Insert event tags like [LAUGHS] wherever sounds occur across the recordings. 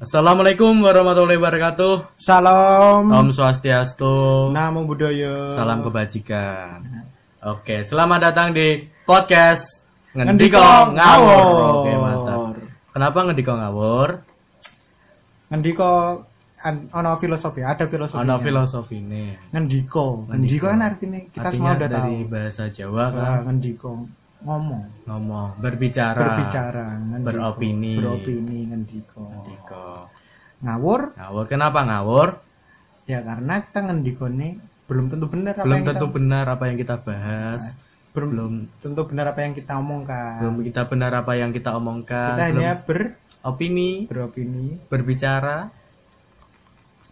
Assalamualaikum warahmatullahi wabarakatuh. Salam. Om Swastiastu. Namo Buddhaya. Salam kebajikan. Oke, selamat datang di podcast Ngendiko Ngendiko Ngawur. Ngawur. Oke, mantap. Kenapa Ngendiko Ngawur? Ngendiko an- ono filosofi, ada filosofi. Ono filosofi ini. Ngendiko. Ngendiko kan artinya kita semua udah tahu. dari bahasa Jawa kan Ah, ngendiko ngomong, ngomong, berbicara, berbicara, ngendiko. Beropini. Beropini ngendiko. Ngendiko. Ngawur Ngawur kenapa ngawur? ya karena kita ngendiko nih belum tentu benar apa Belum yang tentu kita benar apa yang kita bahas. belum, belum tentu benar apa yang kita omongkan. belum kita benar apa yang kita omongkan. kita hanya Belum ber opini, beropini berbicara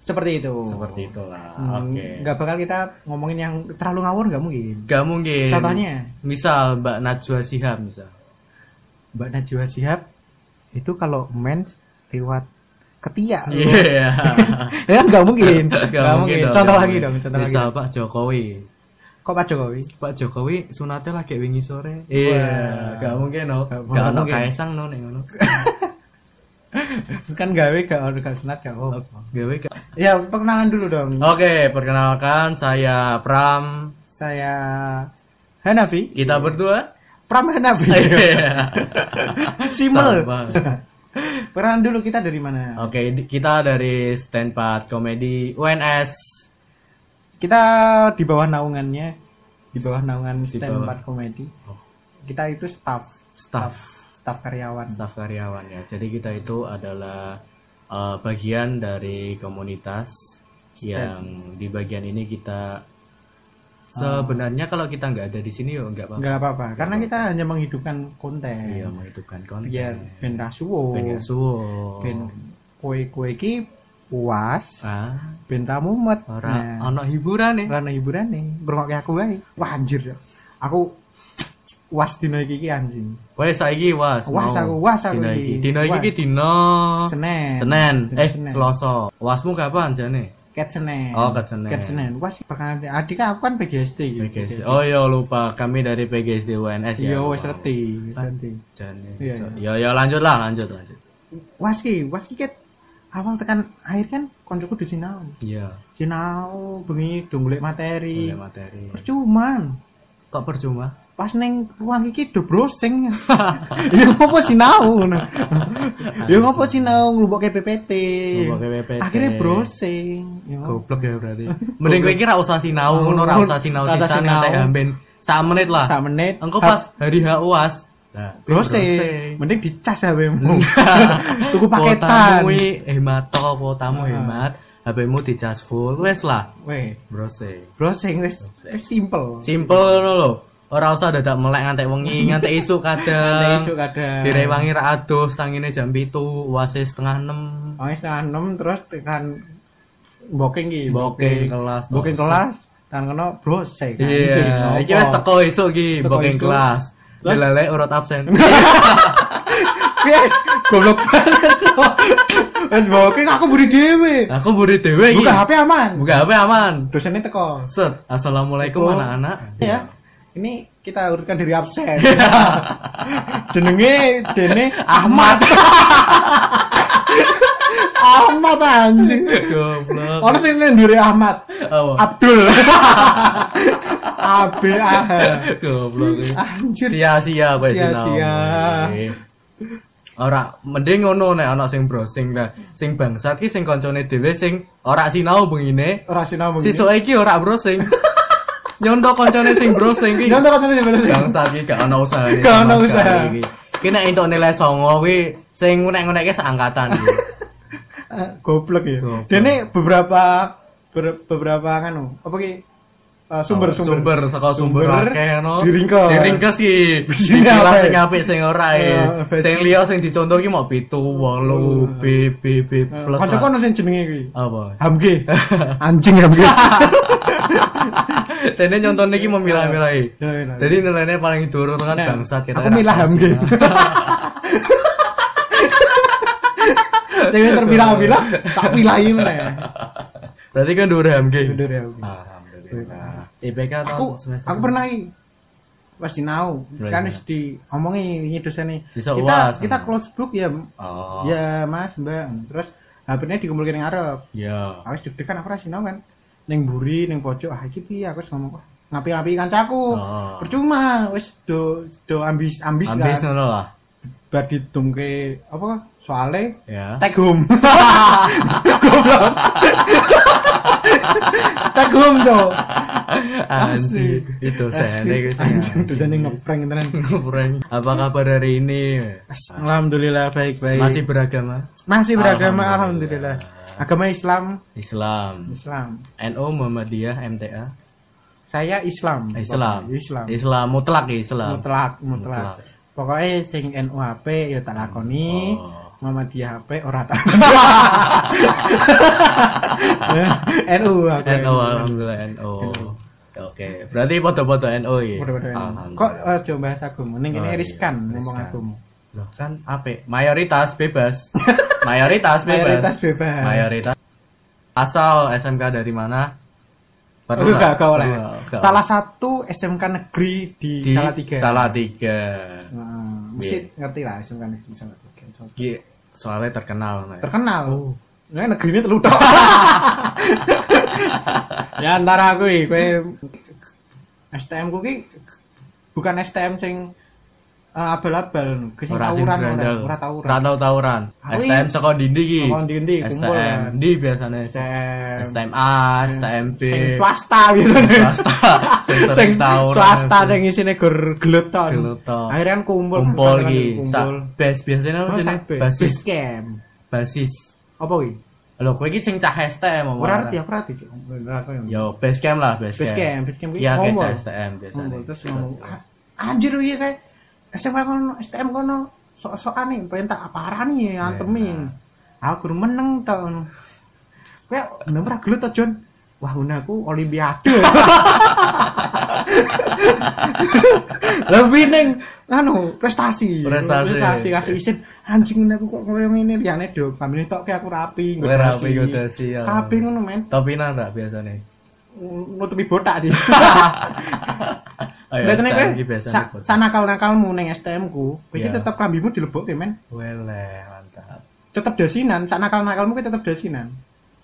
seperti itu. seperti itulah. Hmm, Oke. nggak bakal kita ngomongin yang terlalu ngawur nggak mungkin. Gak mungkin. Contohnya misal Mbak Najwa Shihab misal. Mbak Najwa Shihab itu kalau mens lewat ketiak. loh. Iya. [LAUGHS] ya nggak mungkin. [LAUGHS] Gak Nggak mungkin. dong, Contoh gak lagi mungkin. dong, contoh lagi. Misal Pak Jokowi. Kok Pak Jokowi? [LAUGHS] Pak Jokowi sunatnya lagi wingi sore. Wah. gak mungkin no. Gak Gak ono mungkin. Kaisang no nek ngono. Kan gawe gak gak senat gak oh. Gawe gak- Ya perkenalan dulu dong. Oke, perkenalkan saya Pram. Saya Hanafi. Kita [LAUGHS] berdua. Pram Hanafi. [LAUGHS] Iya. Simel. Sama. [LAUGHS] Perkenalan dulu kita dari mana? Oke, di- kita dari Standpad Komedi UNS. Kita di bawah naungannya di bawah naungan Di stand bawah. Up komedi. Oh. Kita itu staff, Staff. staff karyawan. staf karyawan ya. Jadi kita itu adalah eh, bagian dari komunitas yang di bagian ini kita Ah. sebenarnya kalau kita nggak ada di sini yo nggak apa-apa. nggak apa-apa karena kita hanya menghidupkan konten Iya, menghidupkan konten. biar Ya, ben rasuwo Ben ya. suwo. Oh. ben kue kue ki puas Ah, ben ra mumet Nah, ora ah. ono hiburan ya. nih. karena hiburan nih bermakna aku wae wah anjir aku was dino iki iki anjing Wes saiki was. Was mau. aku, was aku Dino iki. iki. Dino iki Was. ki dino senen Senin, Dino Oh, eh Senen. Selasa. Wasmu kapan jane? cat senen Oh, Cat Senen. cat senen was perkenalan adik aku kan PGSD gitu PGSD. Oh iya lupa, kami dari PGSD UNS ya. iya lupa. wes reti wes Ah. reti Jane. Iya, So- Ya ya lanjut lah, lanjut lanjut. was ki was ki cat awal tekan akhir kan koncoku di sinau Iya, sinau bengi do golek materi oleh materi. percuman Kok percuma? pas neng ruang iki do browsing [LAUGHS] ya ngopo sinau ngono. ya ngopo sinau nglubokke PPT Nglubokke PPT. akhirnya browsing ya Goblok ya [LAUGHS] berarti. Mending kowe iki ra usah sinau, ngono ra usah sinau Ra usah sisan sinau. ngantek amben sak menit lah. sak menit Engko ha- pas hari H UAS. Nah, browsing mending [LAUGHS] dicas HPmu [LAUGHS] tuku Kuotamu paketan Ah. kuwi hemat to, kuotamu hemat, HP-mu dicas full, wes lah. weh Browsing. browsing wis wis simple Simple ngono lho. Ora usah dadak melek ngantek [LAUGHS] wengi, ngantek isuk Nanti kadang. isuk kadang Direwangi ra adoh, tangine jam 7, uase e setengah 6. Pokoknya Oh, setengah enam terus tekan booking ki Booking kelas. booking kelas tangan kena browsing anjing, Iya, iki ngopo. wis teko esuk iki Teko booking esuk. kelas. Dilelek urut [LAUGHS] absen. Piye? goblok banget lo. Wes booking aku buri dhewe. Aku mburi dhewe iki. Buka HP aman. Buka HP aman. Dosennya teko. Set. Assalamualaikum Oh. anak-anak. Ya. Ini kita urutkan dari absen. Jenenge Dene Ahmad. Ahmad anjing. [LAUGHS] Goblok. Orang sing ndure Ahmad. Apa? Abdul. [LAUGHS] ABAH. Goblok. Anjir. Sia-sia apa sih Sia-sia. Ora mending ngono nek ana sing browsing lah. Sing bangsat ki sing koncone dhewe sing ora sinau bengine. Ora sinau mungkin. Sisuk iki ora [LAUGHS] browsing. Nyondo koncone sing browsing ki. Nyontok katanya bener sih. Bangsat iki gak ana usaha. Gak ana usaha. Ki nek entuk nilai 9 kuwi sing ngunek-ngunekke seangkatan iki. Eh, goblok ya. Goblok. Dene beberapa ber- beberapa kan apa ki Eh, sumber Oh, sumber saka sumber akeh no. Diringkes. Diringkes iki. Sing Dikilas apik. sing apik sing ora iki. Oh, apik. Sing liya sing dicontoh iki mau 7 8 Ah. B B B plus. Kancaku ono Eh, sing jenenge kuwi. Apa? [LAUGHS] Hamge. Anjing Hamge. Tene nyonton iki memilah-milah iki. Ya, ya, ya. Jadi nilainya paling turun kan bangsat kita. Nah, Aku kan milah rasis, Hamge. [LAUGHS] ya. Cewek terbilang-bilang tak wilahi meneh. Berarti kan dua HMG. Bener ya. Hamge. Alhamdulillah. IPK Aku tahun semester. aku pernah ki pas sinau Boleh, kan boleh. wis diomongi wingi dosene. Sisa Kita UAS. kita close book ya Oh. Ya mas mbak Terus HP-ne dikumpulke ning arep. Ya. Aku deg-degan aku ra sinau kan. Ning buri, ning pojok, ah iki piye aku wis ngomong wah, ngapi-ngapi kancaku. Oh. Percuma, wis do do ambis ambis, Ambis eh. kan. ngono lah. Bar didumke apa soale [LAUGHS] Ya. tag [LAUGHS] home. Goblok. tag home, Cok. Anjir. Itu ya. sene iku sing Anjing, tujuannya [LAUGHS] ngeprank tenan. Kurang. Apa kabar hari ini? Alhamdulillah baik-baik. Masih beragama Masih beragama alhamdulillah. Agama Islam, Islam. Islam. NU Muhammadiyah MTA. Saya Islam. Islam. Pokoknya Islam. Islam mutlak ya Islam. Mutlak, mutlak. Pokoknya sing NU HP ya tak lakoni. Oh. Muhammadiyah HP ora [LAUGHS] tak. [LAUGHS] NU aku. NO alhamdulillah NO. Oke, berarti foto-foto NO ya. Mudah-mudahan. Alhamdulillah. Kok eh, aja bahas agama, ning Oh, kene iya, riskan ngomong riskan. agama. Loh, kan apa? Mayoritas [LAUGHS] bebas. Mayoritas bebas. Mayoritas bebas. Mayoritas. Asal SMK dari mana? nggak? Oh, enggak, enggak oleh. Perlu nggak? Salah satu SMK negeri di, Di Iya. Salatiga. Salatiga. Heeh, mesti ngerti lah SMK negeri Salatiga. Salatiga. Iya, soalnya terkenal. Nay. Terkenal. Oh. Nah, negeri ini terlalu [LAUGHS] ya antara aku iki kowe STM ku ki bukan STM sing eh, abal-abal no. Ki sing Ora sing tawuran ora berandal. ora Ora tawuran. tau tawuran. Aku STM ini- saka dindi iki. Saka ndi-ndi, kumpul STM kan. di biasanya STM STM A, STM B. sing swasta gitu. Swasta. Sing sering tawuran. swasta sing isine gur gelut ton. Gelut ton. Akhirnya kan kumpul kan, kumpul kan, iki. Sa- Kumpul. Base biasanya apa Oh, sih? sak- Basis, base camp. basis. Apa kuwi? Lho, kowe iki sing cah STM omong. Ora ngerti, aku ora ngerti. Cik. Ora aku yang- Yo, base camp lah, base ya. Base camp. camp, base camp kuwi Iya, kayak ngomong. cah STM biasanya. Ngomong, terus ngomong, "Ah, anjir iya kayak SMA kono, STM kono sok-sokan nih, perintah apa nih Iya, nah. antemin. Aku kudu meneng tok ngono. Kowe bener ora gelut to, Jon? Wah, ngono aku [LAUGHS] olimpiade. [LAUGHS] Lebih neng anu prestasi. Prestasi. Iya. kasih izin anjing ngono aku kok koyo ngene liyane do, sambil tok kayak aku rapi, Kowe rapi, godasi, ya. Kabeh ngono men. Topinan tak [LAUGHS] biasanya? [LAUGHS] Nutupi botak sih. Ayo, Lihatane kowe STM iki Iya, biasanya. sa- sanakal-nakalmu ning STM ku, kowe iki Iya. tetep rambimu dilebokke men. Weleh, mantap. Tetep dasinan, sanakal-nakalmu kowe tetep dasinan.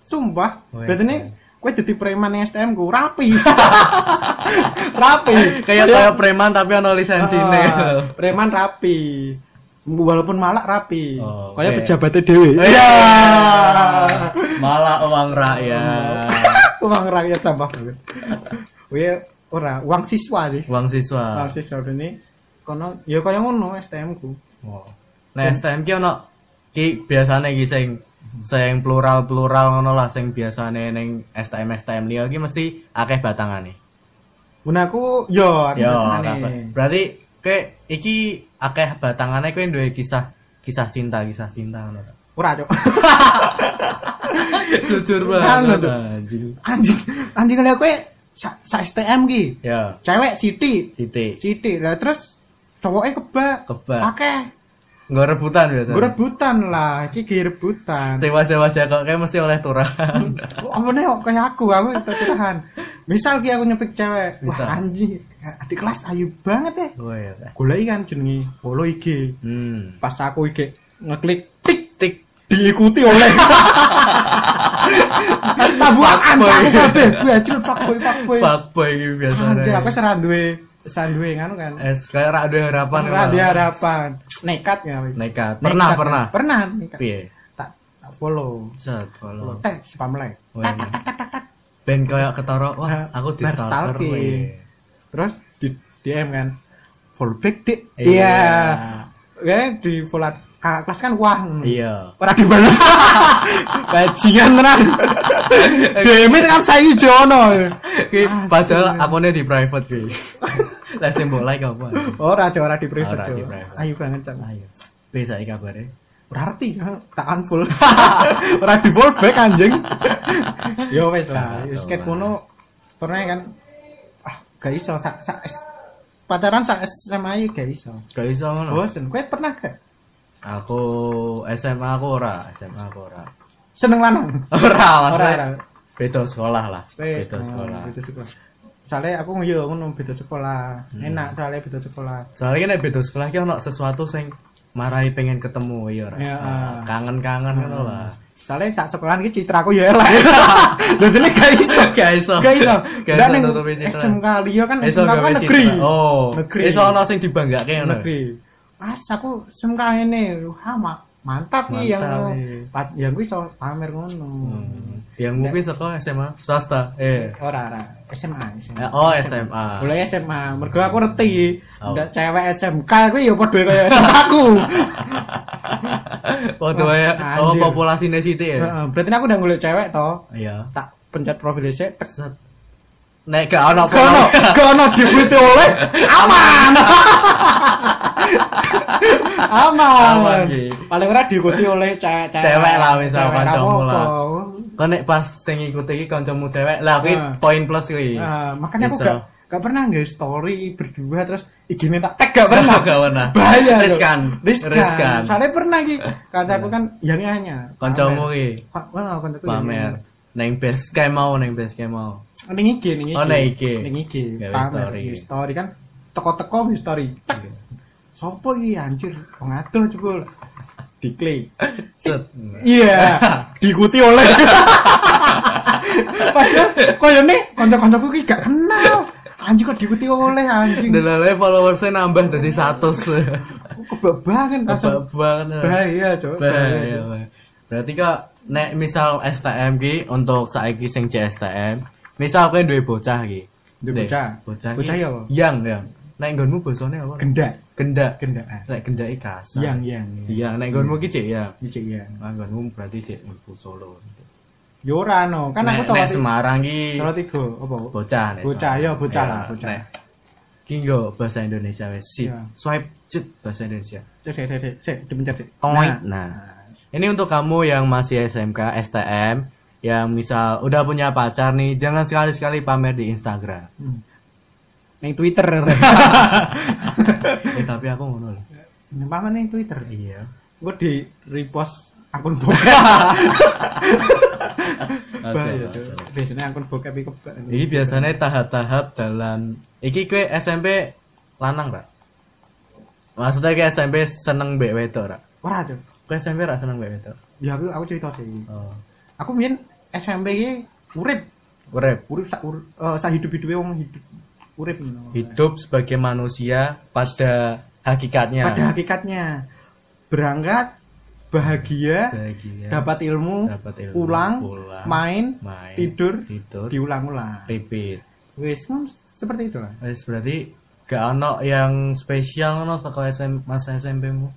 Sumpah, Weh. berarti kowe dadi preman ning STM ku [LAUGHS] rapi. rapi. Kayak kayak preman tapi ono lisensine. Ah, preman rapi. Walaupun malak rapi. Oh, Kayak weh. pejabatnya dhewe. Iya. [LAUGHS] Malah uang rakyat. [LAUGHS] Uang rakyat sampah banget. Kowe ora uang siswa sih. Uang siswa. Uang siswa ini kono ya kaya ngono STM ku. Wow. Nah, STM ki ono ki biasane ki sing sing plural-plural ngono lah sing biasane ning STM STM liya ki mesti akeh batangane. Mun aku yo aku Yo, ngerti akeh. meneh. berarti kowe iki akeh batangane kowe duwe kisah kisah cinta kisah cinta ngono ta. Ora, Cok. Jujur Anu, banget tuh. anjing. [LAUGHS] Anjing, anjing kali aku eh, sa, sa STM ki. Ya, Cewek Siti, titik. Siti lah terus cowoknya kebak. Kebak. Hmm. Akeh. Nggo rebutan biasane. Gue rebutan lah, iki ge rebutan. Sewa-sewa kok kayak mesti oleh [LAUGHS] turan. Apa nih kok kayak aku, aku tertahan. Misal ki aku nyepik cewek, Misal. wah anjing, adik kelas ayu banget ya. Oh iya. Teh. Golek kan jenenge follow IG. Hmm. Pas aku IG ngeklik tik Tik. [LAUGHS] diikuti oleh tabuan Fuckboy. aku kabeh gue ajur fuckboy fuckboy Bapak iki biasane. anjir aku seran duwe seran duwe nganu kan Es kayak ra duwe harapan. seran Eh, Pak. duwe harapan nekat ya wis. Nekat. Nekat, Pernah, kan? pernah. Iya. pernah nekat Piye? tak tak follow Set, follow. Follow. tek spam ya. like Weh. iya. Ben kayak ketara, wah Nah, aku di bar stalker. stalking. weh. terus di DM kan follow back dik Iya. iya ya di follow kakak kelas kan wah ngono. Iya. ora [LAUGHS] dibalas [LAUGHS] bajingan tenan DM kan saiki jono Ki padahal akunnya di private ki. [LAUGHS] Les tembok like apa? Ora Cok, ora di private Ora Cok. di private. Ayu banget Cok. Ayo. Piye saiki kabare? Ora arti Cok. tak unfollow. [LAUGHS] ora di follow back [LAUGHS] anjing. Yo wes lah, wis ket kono turne kan ah gak iso sak sak S- pacaran sak SMA iki gak iso. Gak iso ngono. Bosen, kowe pernah gak Aku SMA aku ora, SMA aku ora. seneng lanang? Ora, Ora maksudnya ora. beda sekolah lah. Wes, Beda oh, sekolah. Beda sekolah. Soalnya aku yo ngono beda sekolah. Hmm. Enak soalnya beda sekolah. soalnya nek beda sekolah ki ono sesuatu sing marai pengen ketemu ya ora Ya. [LAUGHS] Ah, kangen-kangen ngono lah soalnya saat sekolahan iki citra aku ya elek dadine [LAUGHS] gak iso Gak iso. gak iso Gak ndak iso ning tutupi citra. SMK liya kan Gak iso SMK aku kan gawe negeri citra. Oh. Negeri. Iso ono sing dibanggake ngono. negeri pas aku SMK ini lu hama mantap nih yang Mantap, iya. pat yang gue iso pamer ngono Hmm. Yang mungkin sekolah SMA swasta. [LAUGHS] Eh. ora ora SMA Eh, SMA Oh SMA. mulai SMA mergo aku reti Oh. ndak cewek SMK kuwi ya padha kaya [LAUGHS] SMA aku Waduh ya. Oh Anjir. populasi City ya. Heeh, berarti aku udah ngulih cewek toh Iya. tak pencet profil sik tek Set. Nek gak ono gak ono gak ono dibutuh oleh aman aman, Aman, Ki. paling ora diikuti oleh cewek-cewek Cewek lah, wis Cewek sama ra kancamu lah. apa-apa. Kau nek pas sing ikut iki kancamu cewek lah kuwi Ah. poin plus kuwi. Ah, makanya aku Bisa. gak, gak pernah nggak story berdua terus igine tak tag gak pernah [LAUGHS] Gak pernah. bahaya loh. Riskan. riskan, Riskan. Eh. soalnya pernah ki kacaku kan yang nanya Kancamu iki Wah, wah, kancaku ya. yang pamer. Neng base kayak mau neng base kayak mau. nanya. ning IG ning Oh, IG ning IG. ning IG Gawe pamer story. Iya. Di story kan teko-teko di story Tek. sopo iki anjir kok ngatur jebul [LAUGHS] diklik Set. Iya, diikuti [LAUGHS] oleh. Padahal koyo nih kanca-kancaku ki gak kenal. Anjing kok diikuti oleh anjing. Delale followersnya nambah dari 100. Kebebangan Kebak langsung banget. bahaya, Cok. Bahaya, Bahaya. bahaya. Berarti kok nek misal STM ki untuk saiki sing CSTM, misal kowe duwe bocah ki. Nek, Duwe bocah. Bocah. Bocah ki ya apa? Yang, yang. Nek nggonmu bosone apa? Gendak, Gendak. gendak. Nek gendak iki kasar. Yang yang. Yang Iya, nek nggonmu ki cek ya. Cek ya. Nah, nggonmu berarti cek mlebu Solo. Yo ora no, kan aku Nek, nek salah Semarang ki salah tiga apa? bocah nek. Bocah Semarang. ya, bocah Ya, lah, bocah. nek Ki nggo bahasa Indonesia wes sip. Ya. Swipe cet bahasa Indonesia. Cek cek cek, cek cek dipencet cek. Koin. Nah. Ini untuk kamu yang masih SMK, STM, yang misal udah punya pacar nih, jangan sekali-sekali pamer di Instagram. [LAUGHS] Hmm. Neng Twitter. eh tapi aku ngono loh. [LAUGHS] Neng paman neng Twitter. Iya. Gue di repost akun [LAUGHS] bokep. Bahaya, Cok. Biasanya akun bokep iki kebak. Ini biasanya tahap-tahap jalan. Iki kue SMP lanang ra? Maksudnya ke SMP seneng mbek wedok ra? Ora, Cok. Kue SMP ra seneng mbek wedok. Ya aku aku cerita sih. Oh. Aku mien SMP ki urip, Urip. urip sak ur, eh, sak hidup-hidupe wong hidup urip ngono. Hidup sebagai manusia pada hakikatnya. Pada hakikatnya berangkat bahagia, Bahagia. dapat ilmu, Ya. Dapat ilmu, pulang, pulang, main, main, tidur, tidur, diulang-ulang. repeat. Wis kan seperti itu lah. Wes berarti gak ono yang spesial ono saka SM, masa SMP mu.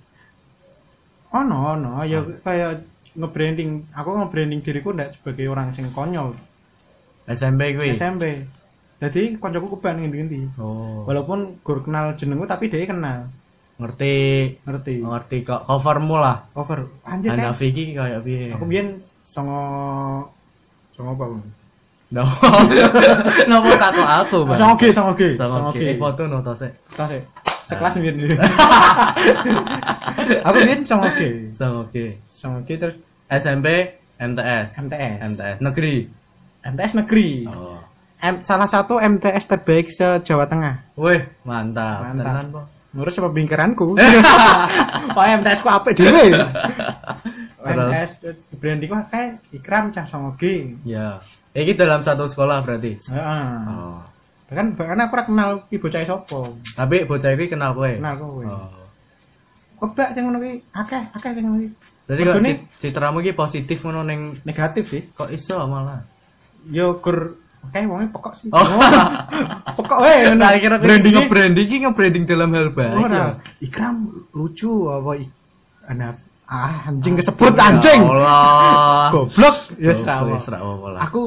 Oh no, no, Ah. ya kayak nge-branding, aku nge-branding diriku ndak sebagai orang sing konyol SMP kuwi. SMP. Jadi koncoku keban ngendi-ngendi. Oh. Walaupun gur kenal jenengku tapi dia kenal. Ngerti Ngerti. ngerti kok covermu lah. Over. Anjir kan. Hanafi ki kayak piye? Aku biyen songo songo apa? Bang? No. [LAUGHS] Nopo tako aku, Mas. Songo G, songo G, Sama songo G. ki. Eh, foto no tose. Tas ya? Ah. Sekelas [LAUGHS] biyen. Aku biyen songo G. Sama ki. Songo G terus SMP MTS. MTS. MTS negeri. MTS negeri. Oh. M- salah satu MTS terbaik se-Jawa Tengah. Wih, mantap. Mantap. Tenan po. Ngurus apa [LAUGHS] bingkeranku? Wah, MTS ku apik dhewe. MTS branding wah kayak Ikram cah songo G. Ya. Iki dalam satu sekolah berarti. Heeh. Oh. Bahkan bahkan aku ora kenal ki bocah sapa. Tapi bocah iki kenal kowe. Kenal kowe. Oh. kebak sing ngono kuwi akeh akeh sing ngono kuwi Jadi kok Mergone- cit- citramu iki positif ngono ning negatif sih kok iso malah. yo gur akeh wonge pekok sih [LAUGHS] [LAUGHS] Oh. pekok wae ngono Nah, kira branding branding nge-branding iki nge-branding dalam hal baik. ora ya. ikram lucu apa ik- ana ah anjing kesebut anjing Ya Allah. goblok ya wis ra Goblok, apa. wis ra apa lah. aku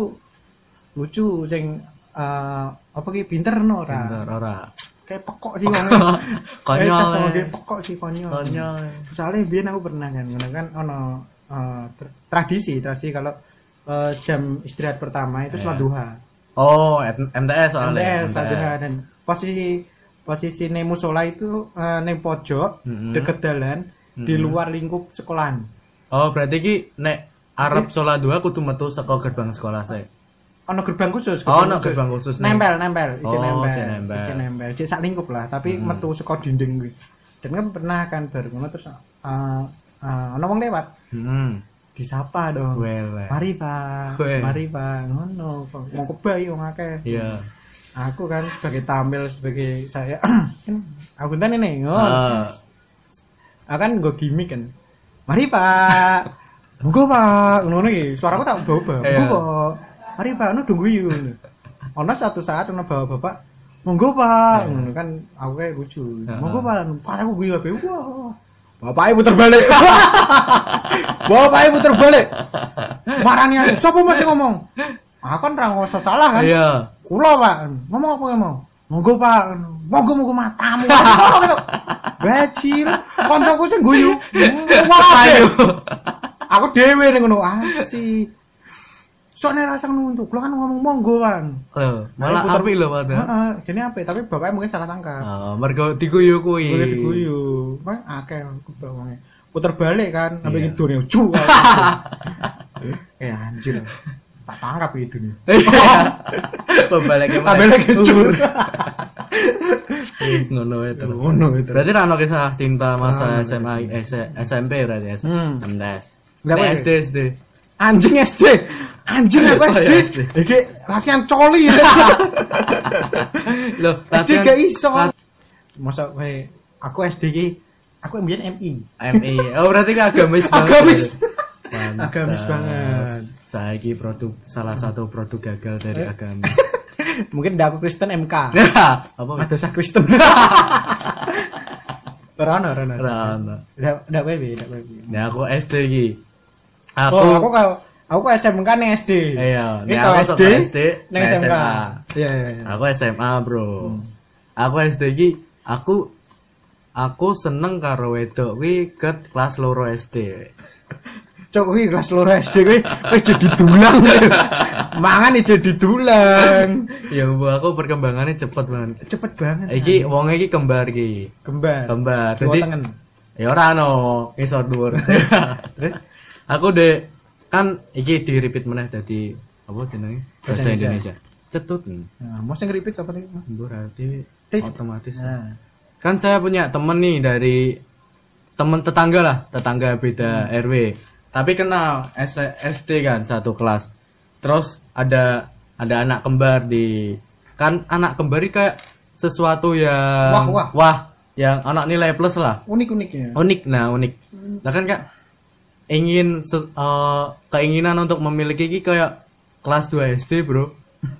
lucu sing eh, apa ki pinter no ora Bentar, [LAUGHS] ora. kayak pekok sih wonge Eh, [LAUGHS] Konyol. cas sama eh. kayak pekok sih konyol Konyol. soalnya biar aku pernah kan karena kan ono eh, tr- tradisi tradisi kalau eh, jam istirahat pertama itu sholat Iya. duha Oh, M- MTS soalnya. MTS sholat duha dan posisi posisi nemu musola itu eh, neng pojok Mm-mm. deket dalan di Mm-mm. luar lingkup sekolahan Oh, berarti iki nek Arab sholat dua kudu metu saka gerbang sekolah saya. ono gerbang khusus Oh, ono gerbang khusus nih. nempel nempel izin Oh, nempel izin nempel. izin nempel Jadi sak lingkup lah tapi metu saka dinding kuwi dan kan pernah kan baru ngono terus eh, eh, ono wong lewat Hmm. disapa dong Wele. mari pak Weh. mari pak ngono mau kebayi wong akeh Iya. aku kan sebagai tampil sebagai saya [CLEARS THROAT] aku kan ini ngono. Ah, aku kan gue gimmick kan mari pak monggo pak ngono iki suaraku tak bawa Iya. monggo pak mari pak nu tunggu yuk ono satu saat ono bawa bapak monggo pak ngono kan aku kayak lucu Heeh. monggo pak pak aku gue bapak wah Bapaknya puter balik. [LAUGHS] Bapaknya puter balik. Marani aku. Sopo masih ngomong? Aku kan ra ngoso salah kan. Iya. Kulo pak, ngomong apa mau? Monggo pak, monggo monggo matamu. Ngono gitu. Bajir, koncoku sing guyu. Wae. Ayo. Aku dhewe ning ngono asi. Soalnya rasa nuntuk, lo kan ngomong monggo pak. Loh, malah puter- api loh padahal. Heeh, Jadi apa? Tapi bapaknya mungkin salah tangkap. Ah, mergo diguyu kuwi. Gue [LAUGHS] diguyu, kan akeh aku bawangnya. Puter balik kan, sampai Iya. gitu nih, cu. Eh anjir, tak tangkap gitu nih. Pembalik Tak Ah, balik cu. [LAUGHS] Ngono itu. Ngono gitu. Berarti rano kisah cinta masa Rano. SMA eh, S- SMP berarti S- Hmm. ya? MTs. Nggak apa-apa. Eh, SD SD. anjing SD anjing Oh, aku SD iya, SD. iki latihan coli [LAUGHS] Loh, SD latihan- gak iso lat- masa we, aku SD ki aku ambien MI MI. Oh, berarti kan agamis banget. Agamis. Mantap. Agamis banget. Saya ini produk salah satu produk gagal dari agamis. [LAUGHS] mungkin ndak aku Kristen MK [LAUGHS] Apa? madrasah [LAUGHS] Kristen Rano, Rano. Rano. Ndak ndak wewe, ndak wewe. Nah, aku SD iki. Aku, Oh, aku kalau aku SMK nih SD. Iya, Ini nek kalau aku SD, sekolah SD, nih nek SMK. SMA. Iya, iya, iya. aku SMA, Bro. Aku SD iki aku aku seneng karo wedok kuwi ke kelas loro SD. Cok, wih, kelas loro SD [LAUGHS] kuwi wis jadi dulang. [LAUGHS] Mangan iki jadi dulang. ya bu aku perkembangannya cepet banget. Cepet banget. Iki wong iki kembar iki. kembar Kembar. Dua Jadi tangan. ya ora no, isor dhuwur. Terus aku dek kan iki di repeat meneh dadi apa jenenge? Bahasa Bahasa Indonesia. Cetut. Nah, mau sing repeat apa nih? Berarti Tik. otomatis. Nah, kan saya punya temen nih dari temen tetangga lah tetangga beda RW tapi kenal S SD kan satu kelas terus ada ada anak kembar di kan anak kembar ini kayak sesuatu yang Wah, wah. yang anak nilai plus lah unik-unik ya. unik nah unik Hmm. nah kan kak ingin se- eh, keinginan untuk memiliki ini kayak kelas 2 SD bro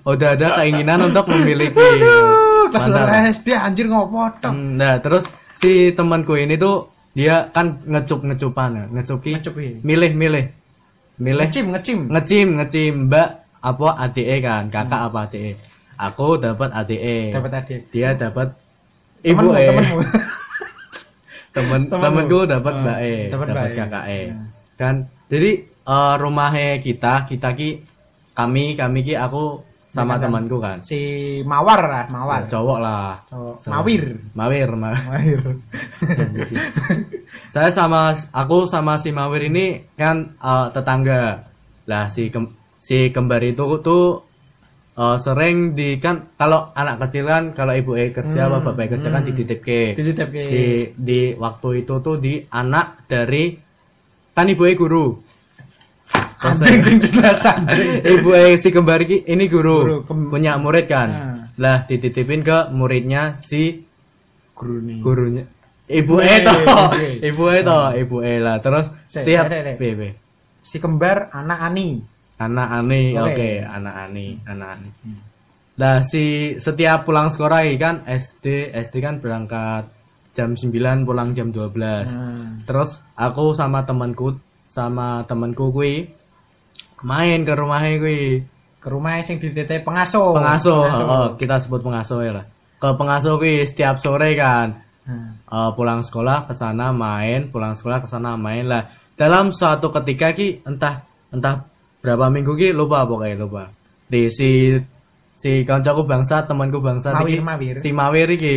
Oh, udah ada [LAUGHS] keinginan untuk memiliki Oh, Kelas Mantap. loro SD anjir ngopo tok. Hmm, Nah, terus si temanku ini tuh dia kan ngecup-ngecupan, ya. ngecupi, Ngecupi. milih-milih. Milih Ngecim, ngecim. ngecim, ngecim, Mbak apa ADE kan, kakak apa ADE. Aku dapat ADE. Hmm. Dapat tadi. Dia dapat Temenmu, ibu E. [LAUGHS] temenmu. Temen temenmu. temanku dapat Ah, Mbak E, dapat dapat Mbak E. kakak E. Ah. Kan jadi eh, rumahnya kita, kita ki kami, kami ki aku sama Mereka kan. temanku kan. Si Mawar lah, Mawar. Cowok lah. Cowok. So- Mawir. Mawir, ma Mawir. [LAUGHS] saya sama aku sama si Mawir ini kan eh, tetangga lah si kem- si kembar itu tuh eh, sering di kan kalau anak kecil kan kalau ibu E kerja Hmm, apa bapak E kerja kan dititip ke Dititip ke- di di waktu itu tuh di anak dari kan ibu E guru Anjing Selesai. sing jelas anjing. [LAUGHS] ibu E si kembar ini, ini Guru, guru, kem- punya murid kan Ah. lah dititipin ke muridnya si Guru nih. gurunya ibu Ibu E, E toh Ibu E. ibu E toh ibu E lah terus Sik, setiap rek, rek, rek. BB Si kembar anak Ani. anak Ani Oke. oke anak Ani anak Ani Hmm. lah si setiap pulang sekolah ini kan SD SD kan berangkat jam 9 pulang jam 12 Hmm. terus aku sama temanku sama temanku kui main ke rumahnya kui Ke rumah sing dititip pengasuh. pengasuh oh, kita sebut pengasuh ya lah ke pengasuh kui setiap sore kan Hmm. Eh, pulang sekolah ke sana main, pulang sekolah ke sana main lah. Dalam suatu ketika ki entah entah berapa minggu ki lupa pokoknya lupa. Di si si kancaku bangsa, temanku bangsa iki, Mawir, Mawir. si Mawir iki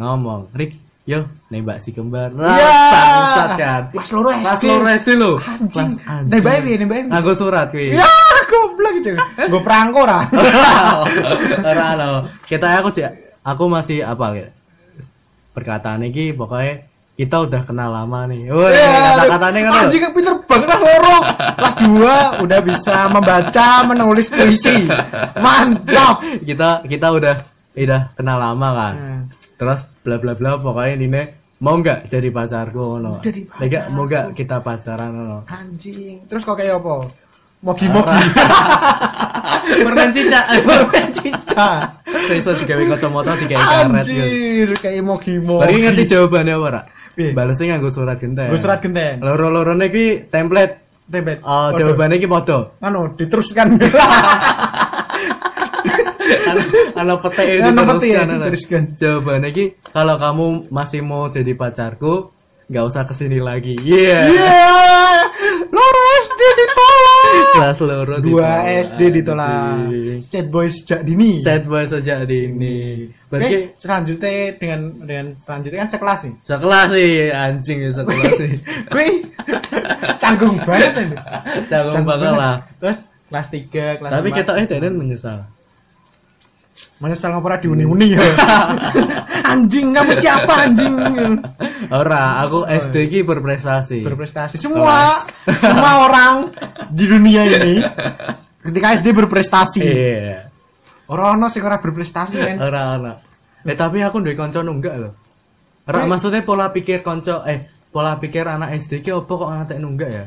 ngomong, "Rik, yo nembak si kembar." Lah, Ya. bangsat kan. Kelas loro SD. Pas loro SD lo. Anjing. Pas anjing. Nih, bayi, nih, bayi. Nganggo surat kuwi. Ya, goblok [LAUGHS] itu. Gue perangko lah. [LAUGHS] Ora lo. Kita aku sih- aku masih apa ya? Perkataan iki pokoknya kita udah kenal lama nih. Woi, Ya, kata-katanya kan. Anjing pinter banget lah loro. Kelas 2 udah bisa membaca, menulis puisi. Mantap. Kita kita udah udah kenal lama kan. Hmm. Terus bla bla bla pokoknya Nine mau nggak jadi pacarku no. Jadi Lega mau nggak kita pacaran no. Anjing. Terus kok kayak apa? Mogi-mogi. [LAUGHS] Permen cicak. [LAUGHS] Permen cica. Seso digawe kacamata digawe karet gitu. Anjir, kayak Bari mogi-mogi. ngerti jawabannya apa ora? Piye? Balesnya nganggo surat genteng. Gue surat genten. Loro-lorone iki template. Eh Tebet. Waduh. jawabannya iki padha. Anu, [LAUGHS] diteruskan. Ana- ana petek Ya, yang ana petek ya, diteruskan, ana. diteruskan. Jawabannya iki kalau kamu masih mau jadi pacarku, nggak usah kesini lagi. Iya. Iya. Loro SD ditolak. Kelas loro Dua ditolak, SD ditolak. anjing. Chat boy sejak dini. Sad boy sejak dini. Oke, Berarti selanjutnya dengan dengan selanjutnya kan sekelas [LAUGHS] sih. sekelas sih anjing ya sekelas sih. Wih, canggung banget ini. Canggung banget lah. Terus kelas 3, [LAUGHS] kelas Tapi empat. kita eh Denen menyesal. menyesal ngopera di Hmm. [LAUGHS] uni-uni ya. anjing, kamu siapa anjing? Ora, aku SD ki berprestasi. Berprestasi semua semua orang di dunia ini ketika SD berprestasi. Iya. Orang ono sing ora berprestasi kan. Ora ora. Eh tapi aku duwe kanca nunggak lho. Ora Wih. maksudnya pola pikir kanca eh pola pikir anak SD ki opo kok ngatek nunggak ya?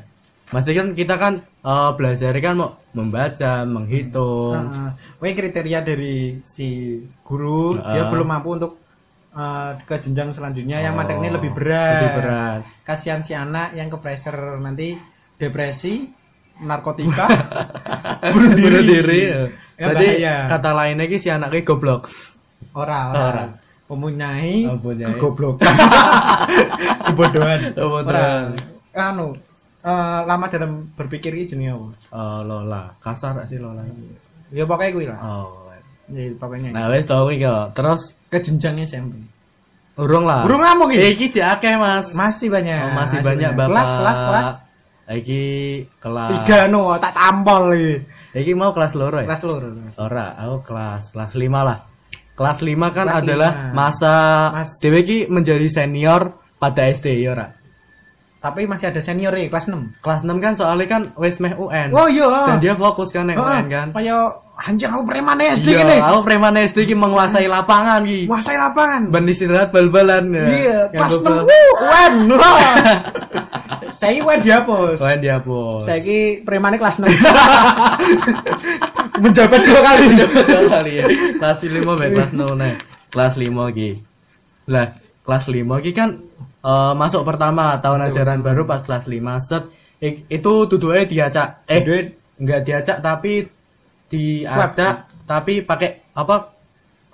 Maksudnya kan kita kan eh, belajar kan mau membaca, menghitung. Heeh. Wih, kriteria dari si guru Heeh. dia belum mampu untuk eh, ke jenjang selanjutnya yang Oh, materinya lebih berat. Lebih berat. Kasihan si anak yang ke pressure nanti depresi, [LAUGHS] narkotika, [LAUGHS] bunuh diri. Bunuh diri. ya. Ya, Berarti bahaya. kata lainnya ki si anak ki goblok. Ora, Ora. ora. Mempunyai Mempunyai. goblok. Kebodohan. [LAUGHS] Kebodohan. Ora. Anu, eh, lama dalam berpikir iki jenenge apa? Eh, Lola, kasar gak sih Lola. Ya pokoknya kuwi lah. Oh. Ya pokoknya. Nah, wis tau iki kok. Terus Ke jenjang SMP. urung lah. Urung ngamuk iki? Eh, Iki jek akeh, Mas. Masih banyak. Oh, masih, banyak, Bapak. Kelas, kelas, kelas. Iki kelas. Tiga no, tak tampol iki. Iki mau kelas loro ya? Kelas loro. Ora, aku kelas kelas 5 lah. Kelas 5 kan Kelas adalah lima. masa Mas- dhewe iki menjadi senior pada SD ya ora. Tapi masih ada senior ya, kelas 6. Kelas 6 kan soalnya kan wis meh UN. Oh iya. Dan dia fokus kan nek Heeh, UN kan. Kaya anjing aku preman ya, SD kene. Iya, aku preman SD iki menguasai lapangan iki. Nguasai lapangan. Ben istirahat bal-balan ya. Iya, Yang kelas gua- 6. [LAUGHS] wuh, Wen. [LAUGHS] Saya wen dihapus. UN dihapus. Saya ki premane kelas 6. [LAUGHS] Menjabat dua kali. kali ya. Kelas 5 bae kelas 0 nih. Kelas 5 iki. Lah, kelas 5 iki kan eh, masuk pertama Iya. tahun ajaran baru pas kelas 5 set Ik- itu duduke diacak eh Duit. enggak diacak tapi diacak tapi pakai apa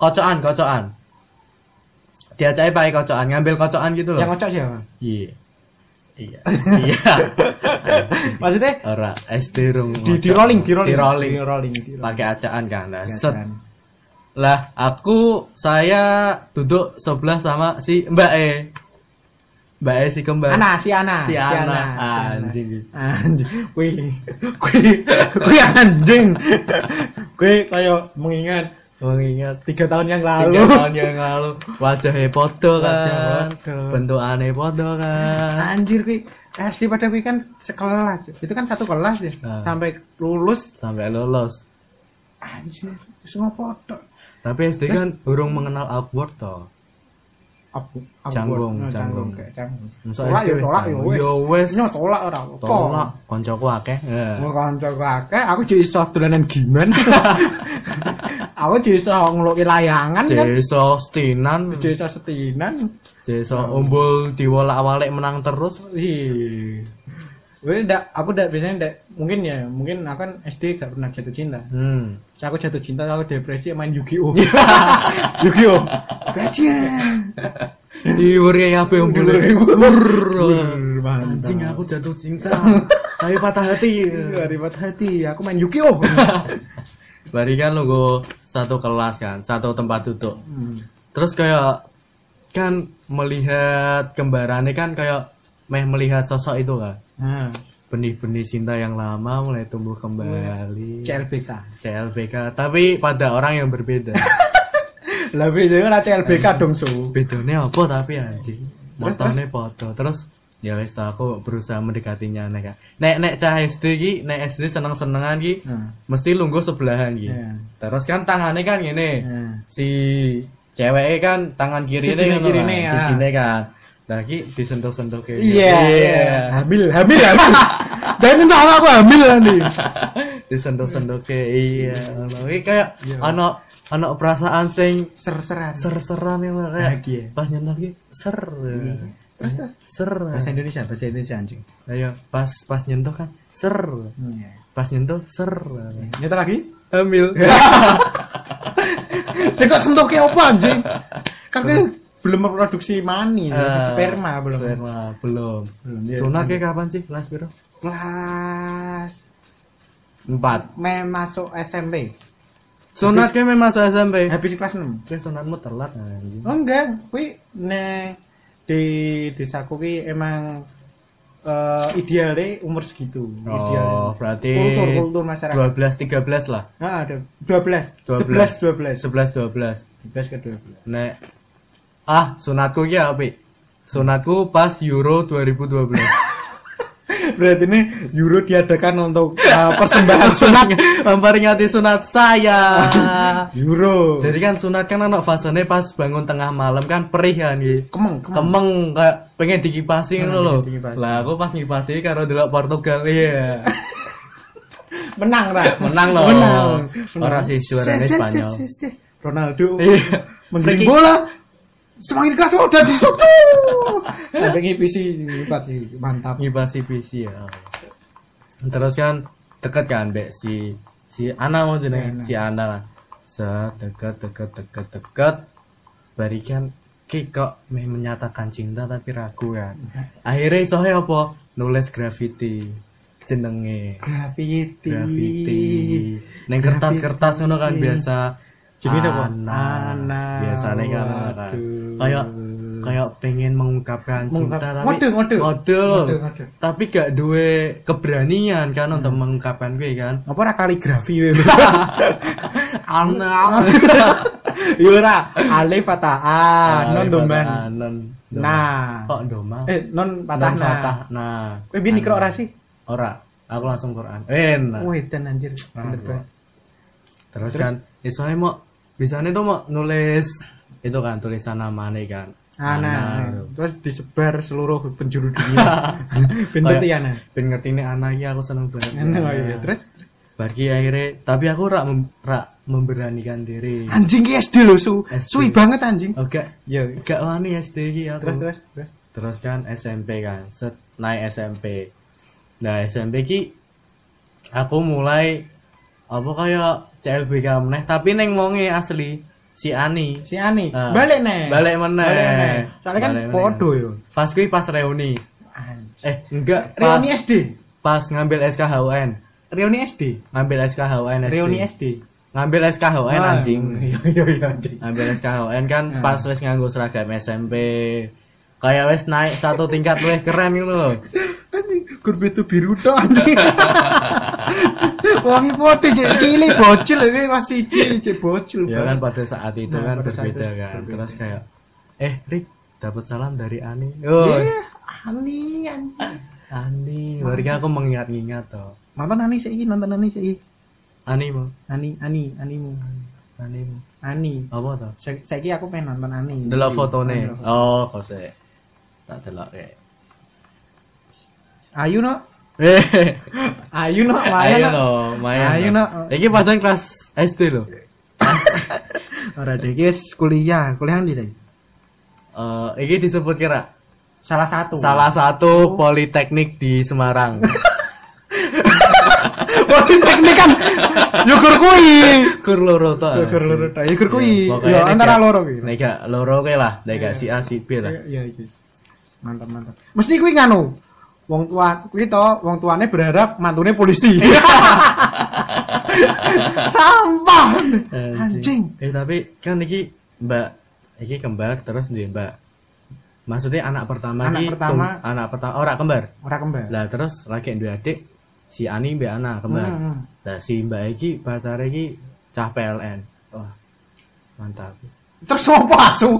kocokan kocokan diacaknya pakai kocokan ngambil kocokan gitu Yang loh ngocok siapa? iya [LAUGHS] iya iya Maksudnya ora SD rung di, di ngocok. rolling, di rolling, di rolling di rolling. di rolling. pakai acaan kan nah, set Biasaan. lah aku saya duduk sebelah sama si Mbak E Mbak E si kembar Ana, si Ana, Si Ana. si Ana. Anjing. Anjing. Kuwi kuwi kuwi anjing. Kuwi kaya mengingat mengingat tiga tahun yang tiga lalu. tahun yang lalu wajahnya podo Wajah kan podo. bentukannya podo kan Anjir kuwi SD pada kuwi kan sekelas. Itu kan satu kelas ya. Ah. Sampai lulus sampai lulus anjir semua foto. tapi SD kan urung mengenal awkward toh Abu, Canggung, Nah, canggung. canggung, kayak canggung. Masa Tolak SD ya, wis tolak ya, canggung. wis. Ya, wis. Nyo, tolak ora apa. tolak koncoku akeh Ya. Wong kanca ku akeh, aku jadi iso dolanan [LAUGHS] giman. aku jadi iso ngeluki layangan kan. Jeso stinan Jadi iso setinan. Jeso umbul diwolak-walik menang terus Ih. Gue ndak aku ndak biasanya ndak mungkin ya, mungkin aku kan SD gak pernah jatuh cinta. hmm Terus aku jatuh cinta, aku depresi main Yu-Gi-Oh. [LAUGHS] Yu-Gi-Oh. Gajian. Diwuri apa yang boleh? Brrr, mantap. Anjing aku jatuh [LAUGHS] cinta, tapi patah hati. Iya, ribet hati, aku main [LAUGHS] Yu-Gi-Oh. Bari kan lu gua satu kelas kan, satu tempat duduk. Hmm. Terus kayak kan melihat kembarannya kan kayak meh melihat sosok itu kan. Nah, Benih-benih cinta yang lama mulai tumbuh kembali. CLBK. CLBK, tapi pada orang yang [LAUGHS] berbeda. Lebih jangan CLBK dong, Su. Bedanya apa tapi anjing? Terus, motone foto terus ya wis toh, aku berusaha mendekatinya nek nek nek cah SD ki nek SD seneng-senengan ki Nah, mesti lungguh sebelahan ki Iya. terus kan tangannya kan gini nah. si ceweknya kan tangan kiri Sijine kirine, ya. sini kan lagi disentuh-sentuh kayak Iya, hamil, hamil, [LAUGHS] hamil. Jangan tahu aku hamil nanti. disentuh-sentuh kayak iya tapi kayak Iya. anak anak perasaan sing Ser-seran. ser-seran ya Mbak. kayak Bahagia. Iya. pas nyentuh ki ser Terus terus. ser Bahasa Indonesia, bahasa Indonesia anjing. ayo pas pas nyentuh kan ser Iya. pas nyentuh ser Nyata lagi? [LAUGHS] [LAUGHS] hamil Saya kok sentuh kayak apa anjing? Kan dia belum memproduksi mani, Eh, sperma belum. sperma belum Belum, iya. sunat kayak kapan sih kelas biru Kelas empat me masuk SMP. sunat kayak memang masuk SMP Habis kelas 6. Kayak sunatmu telat anjing. Oh enggak, kuwi ne di desaku kuwi emang eh idealnya umur segitu. Oh, Idealnya. berarti Kultur kultur masyarakat. 12 13 lah. Eh, Nah, ada 12, 11 12. 11 12. 11 ke 12. Nek ah sunatku ki apik. Sunatku pas Euro 2012. [LAUGHS] Berarti ini Euro diadakan untuk eh, [LAUGHS] persembahan [LAUGHS] sunat Memperingati sunat saya. Euro. Jadi kan sunat kan anak fasenya pas bangun tengah malam kan perih kan gitu. Kemeng, kemeng. Kemeng kayak pengen dikipasi Hmm, ngono lho. pengen dikipasi. Lah aku pas ngipasi karo delok Portugal [LAUGHS] iya. Menang lah. Menang loh. Menang. Orang sih juaranya Sis, sis, Spanyol. sis, sis. Ronaldo Iya. menggiring Free kick. bola semakin keras oh dan disitu ada ngipisi ngipasi mantap ngibasi PC ya terus kan deket kan Mbak si si Ana mau jeneng Ana. si Ana lah set deket deket deket deket barikan ki kok meh menyatakan cinta tapi ragu kan akhirnya soalnya apa nulis graffiti jenenge Graffiti. graffiti neng kertas-kertas ngono kan biasa Jenenge apa? Ana. Ana. biasanya kan Ana kan Waduh. kayak kayak pengen mengungkapkan cinta Mengungkap- tapi Ngode, ngode. Ngode loh. Ngode, ngode. tapi gak duwe keberanian kan untuk Hmm. mengungkapkan gue kan Apa ora kaligrafi we? Ana [LAUGHS] Yo ora, alif patah a, non doman. non nah Nah. kok doman Eh, non patah patah na. Oh. nah Kowe biyen dikira ora sih? ora aku langsung Quran enak Wedan anjir. Nah, Bener banget. terus kan eh soalnya mau biasanya tuh mau nulis itu kan tulisan namanya kan Ana. gitu. Ah, nah, Terus disebar seluruh penjuru [LAUGHS] dunia. ya, nah. Kayak- iya. Ben ngerti ana. ben ngerti ini anak ya aku seneng banget [LAUGHS] Ana kaya gitu. terus bagi akhirnya tapi aku rak mem, rak memberanikan diri anjing ki SD lho su. SD. Suwi banget anjing. oke Yo. gak wani SD iki aku Terus terus terus. Terus kan SMP kan set naik SMP nah SMP ki aku mulai apa kayak CLBK meneh tapi neng wonge asli si Ani Si Ani, Nah. balik nih. Balik meneh. Soalnya kan Balik meneh. podo yo. pas kui pas reuni Anjing. eh enggak pas Reuni SD. pas ngambil SKHUN Reuni SD. ngambil SKHUN SD. Reuni SD. ngambil SKHUN Wah, anjing Iya iya iya anjing. Ah. ngambil SKHUN kan pas wes nganggo seragam SMP kayak wes naik satu tingkat wes keren gitu loh Anjing, kurbe itu biru tok anjing. [LAUGHS] Wangi putih cek cili bocil ini masih cili cek bocil. ya kan pada saat itu Nah, kan pada saat berbeda itu kan berbeda. terus kayak eh Rick dapat salam dari Ani oh Iya, Ani anjing. Ani warga aku mengingat-ingat toh Nonton Ani sih, nonton Ani sih. Ani mau Ani, Ani, Animu. Ani mau Ani. apa toh Saya aku pengen nonton Ani. delok fotone Delok foto. oh kok sih tak delok ya Ayu no, [LAUGHS] eh Ayu no, Maya ayo no. no mayan Ayo, no no. iki padahal kelas SD loh Ora deh, guys, kuliah, kuliah di deh. Eh, iki disebut kira Salah satu. [LAUGHS] salah satu politeknik di Semarang Politeknik kan. Yukur kui. kur loro to Ya, gur loro tok. Ya, gur kui. Iya, pokoknya Ya, nek antara gak- loro kui. nek gak loro kui lah nek gak si A si B lah Iya, iya. Mantap, mantap. Mesti kuwi nganu. Wong tua kuwi to, wong tuane berharap mantune [LAUGHS] polisi. Sampah. Eh, Anjing. sih. eh tapi kan iki mbak iki kembar terus di mbak maksudnya anak pertama Anak iki pertama. tum- anak pertama ora kembar Ora kembar. lah terus lagi dua adik si Ani mbak Ana kembar Hmm, hmm. lah si mbak iki pacarnya iki cah PLN wah mantap Terus sopo asu?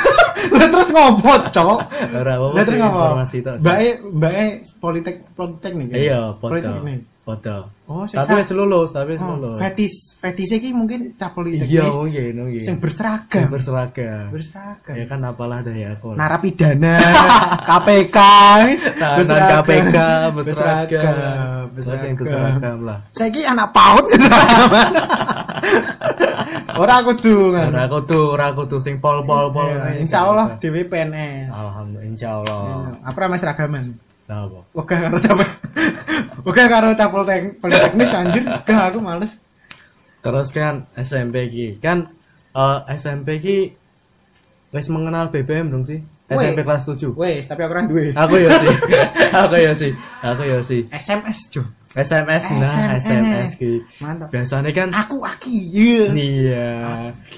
[LAUGHS] Lah terus ngopot, cok. Ora apa-apa Lah Oh, terus sih, ngopo? informasi tok. sih. Mbake mbake politek politeknik. ya? Iya, foto. Politeknik. Foto. Oh, sisa. Tapi wis lulus, tapi wis Oh, lulus. fetis, fetis iki mungkin cap politeknik. Iya, mungkin, mungkin. Sing Sing berseragam. berseragam. Berseragam. Ya kan apalah daya aku. lah. [LAUGHS] narapidana KPK Tahanan berseragam. KPK berseragam. Terus yang berseragam berseragam lah. saya ki anak [LAUGHS] paut berseragam orang aku tuh Ora Iya. aku tuh, ora aku tuh sing pol-pol-pol. Iya, insya Allah Dewi PNS Alhamdulillah, insya Allah. apa namanya seragaman Lah apa? Oke karo cap [LAUGHS] Oke karo capul tek- politeknis anjir gak aku males Terus kan SMP ki kan eh, SMP ki wis mengenal BBM dong sih? Weh. SMP kelas 7. wes tapi aku orang duwe Aku ya sih. [LAUGHS] aku ya sih. Aku ya sih. SMS jo SMS nah SMS. SMS ki. mantap Ah. Biasanya kan aku aki iya iya.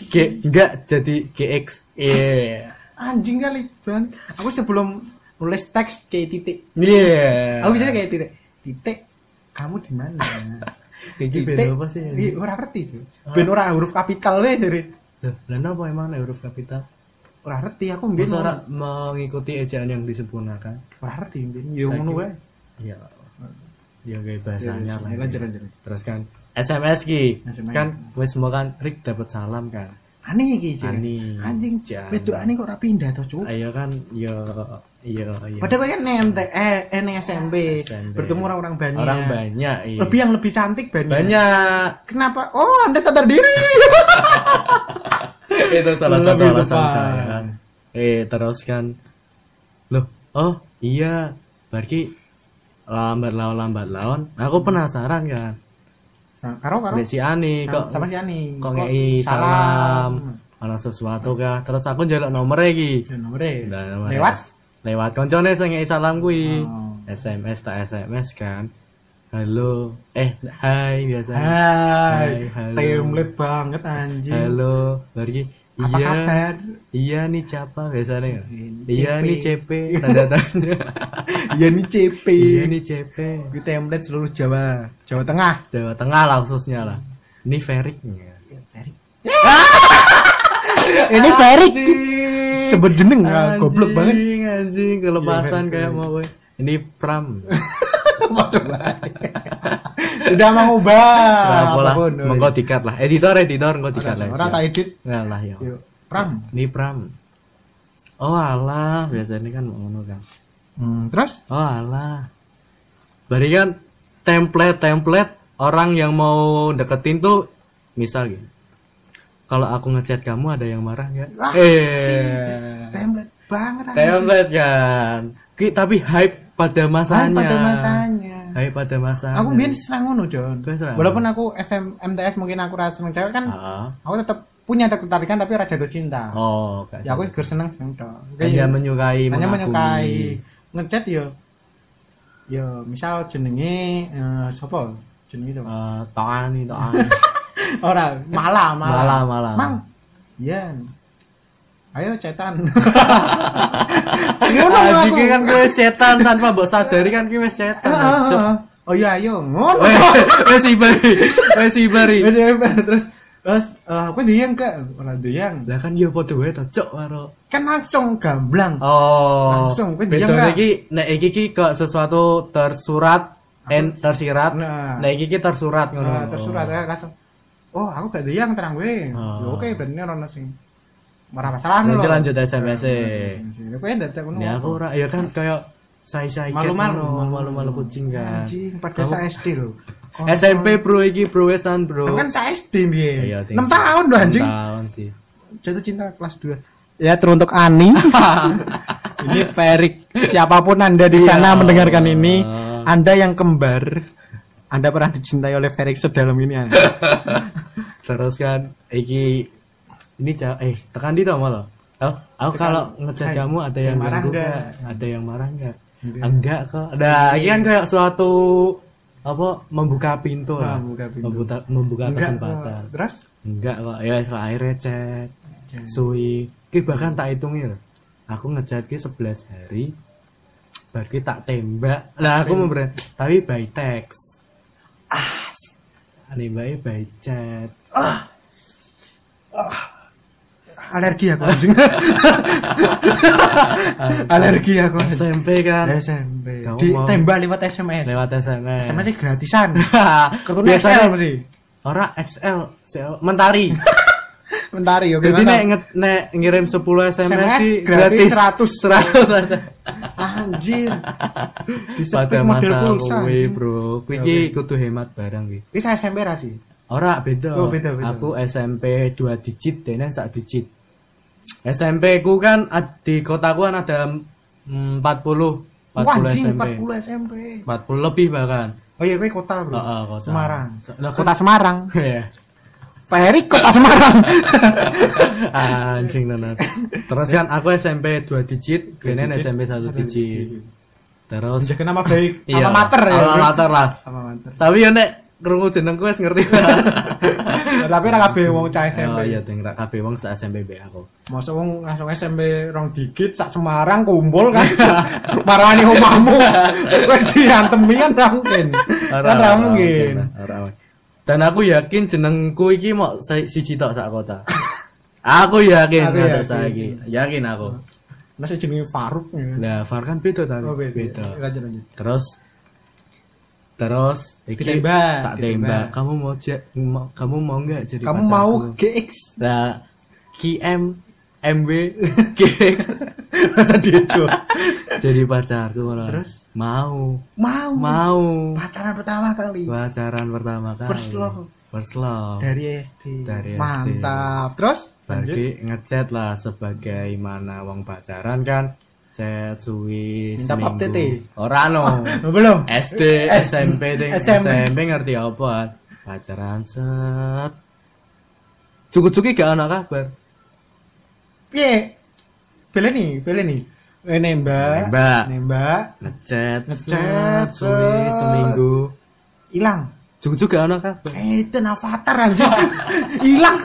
G enggak jadi GX. Iya. anjing kali ban aku sebelum nulis teks kayak titik Iya. Aku biasanya kayak titik, titik kamu di mana? [LAUGHS] Iki beda apa sih? Iya, ora ngerti tuh. Ben ora huruf kapital le dari Loh, Lah napa emang nek huruf kapital? ora ngerti aku mbien. Bisa ora mengikuti ejaan yang disempurnakan? Ora ngerti mbien. Yo ngono wae. Iya. Ya kayak bahasanya lah. Iya, Lanjut lanjut. Terus kan SMS ki. SMS. Kan wis mau kan Rick dapat salam kan. Aneh iki Ani. jeneng. Anjing. Jan. Wedok aneh kok ora pindah to, Cuk. Ayo kan yo yo yo. Padahal kowe kan NMT eh eh, neng SMP, SMP. bertemu orang-orang banyak. Orang banyak. iya. Lebih yang lebih cantik banyak. banyak. Kenapa? Oh, Anda sadar [LAUGHS] diri. Itu salah satu Lebih alasan depan. saya kan. Eh terus kan. Loh, oh iya. Berarti lambat laun lambat laun aku penasaran kan. Sa- Karo karo. Nek si Ani Sa- kok Sama si Hmm. Ani. kok ngei salam. Ana sesuatu kah? Terus aku njaluk nomere iki. Ya, nomere. Nah, nomere. Lewat. lewat koncone sing ngei salam kuwi. Oh. SMS tak SMS kan. Halo, eh hai biasa. Hai, Hai, halo. template banget anjing. Halo, Bargi. Apa Iya. kabar? [LAUGHS] Iya nih Capa biasanya. Ini Iya CP. nih CP tanda tanya. Iya nih CP. iya nih CP. Di template seluruh Jawa, Jawa Tengah. Jawa Tengah lah khususnya lah. Ini Iya, Ferik. [LAUGHS] Ini Ferik. Sebut jeneng Anjing, ah, goblok banget. Anjing kelepasan Iya, Ferik, kayak mau gue. Ini Pram. [LAUGHS] Udah mau ubah. Apa lah? apapun. Mengko dikat lah. Eh, Editor editor mengko Orang- dikat lah. Orang tak edit. Nah lah ya. Yuk, Pram. Ini Pram. Oh alah, biasanya kan mau ngono kan. Hmm, terus? Oh alah. Berarti kan template-template orang yang mau deketin tuh misal gini. Kalau aku ngechat kamu ada yang marah nggak? Wah, sih. Eh, Template banget. anjing. template kan. Ki, tapi hype pada Kan masanya. Pada masanya. Hype pada masanya. Aku biar serang ngono, Jon. Biar serang. Walaupun aku SM, MTS mungkin aku rasa seneng cewek kan, Ah. aku tetap punya ketertarikan tapi rasa jatuh cinta. Oh, gak ya aku sih. ger seneng seneng tok. hanya menyukai, hanya mengagumi. menyukai ngechat yo yo misal jenenge eh, sapa jenenge sapa Eh, tangan nih, [LAUGHS] tangan. ora malah malah Malah, malah. mang iya ayo [LAUGHS] cetan ngono Anjing aku. kan gue setan tanpa mbok sadari kan gue [LAUGHS] setan. Heeh, Cuk. heeh. oh iya ayo ngono Weh, wes ibari, wes [LAUGHS] ibari. Terus, terus terus eh, aku diyang ke ora diyang Lah kan yo padha wae to, cok karo. kan langsung gamblang Oh. Langsung, kuwi beda diam, Ra. iki nek iki ki kok sesuatu tersurat en tersirat. Nah. Nek iki ki tersurat ngono. Nah, terus surat ya langsung. Oh, aku gak diang terang gue. Ah. Ya, Oke, berarti orang sing marah masalah lho. Nanti lanjut SMS. Ya kowe ndak ngono. Ya aku ora, ya kan kayak sai-sai ket Malu-malu. ngono, malu-malu kucing kan. Anjing, pada Kamu- saya SD lho. Kon- SMP bro iki bro wesan bro. kan saya Iya, SD piye? thank 6 you. tahun lho anjing. Enam Tahun sih. Jatuh cinta kelas 2. Ya teruntuk [LAUGHS] Ani. ini Ferik. Siapapun Anda di sana Iya. mendengarkan ini, Anda yang kembar, Anda pernah dicintai oleh Ferik sedalam ini. Anda. Terus kan iki ini cewek eh tekan di tau malah. Oh, aku kalau ngechat Hai, kamu ada Eh, yang yang marah ganggu nggak? nggak? Ada yang marah nggak? Enggak. Enggak kok. Nah, ini kan kayak suatu apa membuka pintu lah. Ah, Membuka pintu. Membuka, membuka Enggak, eh, kesempatan. Terus? Enggak kok. Ya wis lah, akhirnya chat. Hmm. Sui. Ki bahkan tak hitungin. loh. Aku ngechat ki 11 hari. Baru ki tak tembak. Lah Hmm. aku member tapi by text. Ah. Nembaknya by chat. [LAUGHS] alergi aku anjing. SMP. alergi aku SMP kan. SMP Kamu mau- ditembak lewat SMS Lewat SMS. [LAUGHS] SMS -nya gratisan Kartunya Biasanya XL mesti Ora XL, CL, mentari. mentari oke Jadi nek mantap. nge- nek ngirim 10 SMS, SMS sih gratis gratis 100. 100. [LAUGHS] anjir di Pada sepik model masa pulsa kuwi, anjing. Bro. Kuwi iki kudu hemat barang kuwi. ini saya SMP ra sih Ora beda. Oh, beda, beda. Aku SMP 2 digit dene sak digit. SMP ku kan ad- di kotaku kan ada mm, 40 40 Wah, anjing, SMP. 40 SMP 40. lebih bahkan. oh iya gue kota bro Heeh, Nah, kota. Semarang Se- lah, kota Semarang [LAUGHS] Ya. Pak Heri kota [LAUGHS] Semarang Anjing tenan. Terus kan aku SMP 2 digit, dene digit, SMP 1 digit. Terus menjaga nama baik [LAUGHS] iya, alma mater ya alma bro. mater lah. alma mater Tapi ya nek krungu jenengku wis [LAUGHS] ngerti. [LAUGHS] tapi ra kabeh wong cah SMP Oh iya ding ra kabeh wong sak SMP be aku. Masa wong langsung SMP rong dikit sak Semarang kumpul kan. [LAUGHS] Marani [LAUGHS] omahmu. Kowe diantemi kan ra mungkin. Kan ra mungkin. Ora mungkin. Dan aku yakin jenengku iki mau si- siji tok sak [LAUGHS] kota. Aku yakin Aku ada yakin. saiki. Yakin aku. Masih jenenge Faruk ya. Lah Far kan beda ta? Oh, beda. Lanjut lanjut. Terus terus iki Ditembak, tak ditembak. tembak. Kamu mau, ja- mau- kamu mau nggak jadi Kamu pacarku? mau GX Lah KM MW [LAUGHS] GX [LAUGHS] masa diejo. jadi pacarku malah. Terus? [LAUGHS] mau Mau. mau Pacaran pertama kali. pacaran pertama kali First love. first love Dari SD. Oh. Dari SD. Mantap. Terus lanjut. Berarti ngechat lah sebagaimana wong pacaran kan chat suwi Minta pap seminggu. tete. Ora no. [LAUGHS] Oh, Belum. Eh. SD, S- SMP, ding. SMP. SMP ngerti apa? Pacaran set. Cukup-cukup gak ana kabar. Piye? Bele nih, bele nih. Eh, nembak. Nembak. Nembak. Ngechat, set, Ngechat, suwi set. seminggu. Hilang. Cukup-cukup gak ana kabar. Eh, itu avatar [LAUGHS] anjing hilang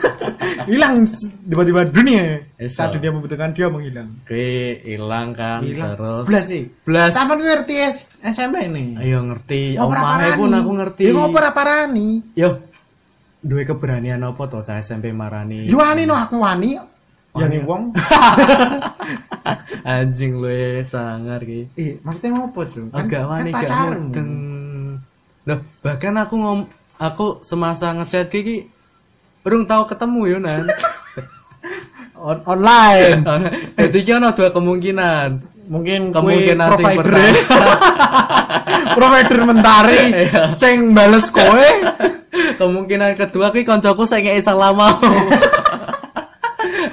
hilang tiba-tiba dunia Eso. saat dunia membutuhkan dia menghilang Oke, hilang kan hilang terus. belas sih Blas. sama gue ngerti S SMP ini Ayo ngerti. Omahe pun aku ngerti. ya ngoper parani Yo, duwe keberanian apa to cah SMP marani? yo wani no aku wani ya nih wong [LAUGHS] Anjing lu ya, sangar ki. eh maksudnya ngopo tuh Agak wani kan Oh, gak pacaran mudeng. Loh, bahkan aku ngom aku semasa ngechat ki ki urung tau ketemu yo [LAUGHS] nan. On- online Jadi ki ono dua kemungkinan. [LAUGHS] mungkin Kemungkinan kue sing provider pertama. [LAUGHS] provider mentari [LAUGHS] Iya. sing bales kowe kemungkinan kedua ki koncoku saya ngei lama. [LAUGHS]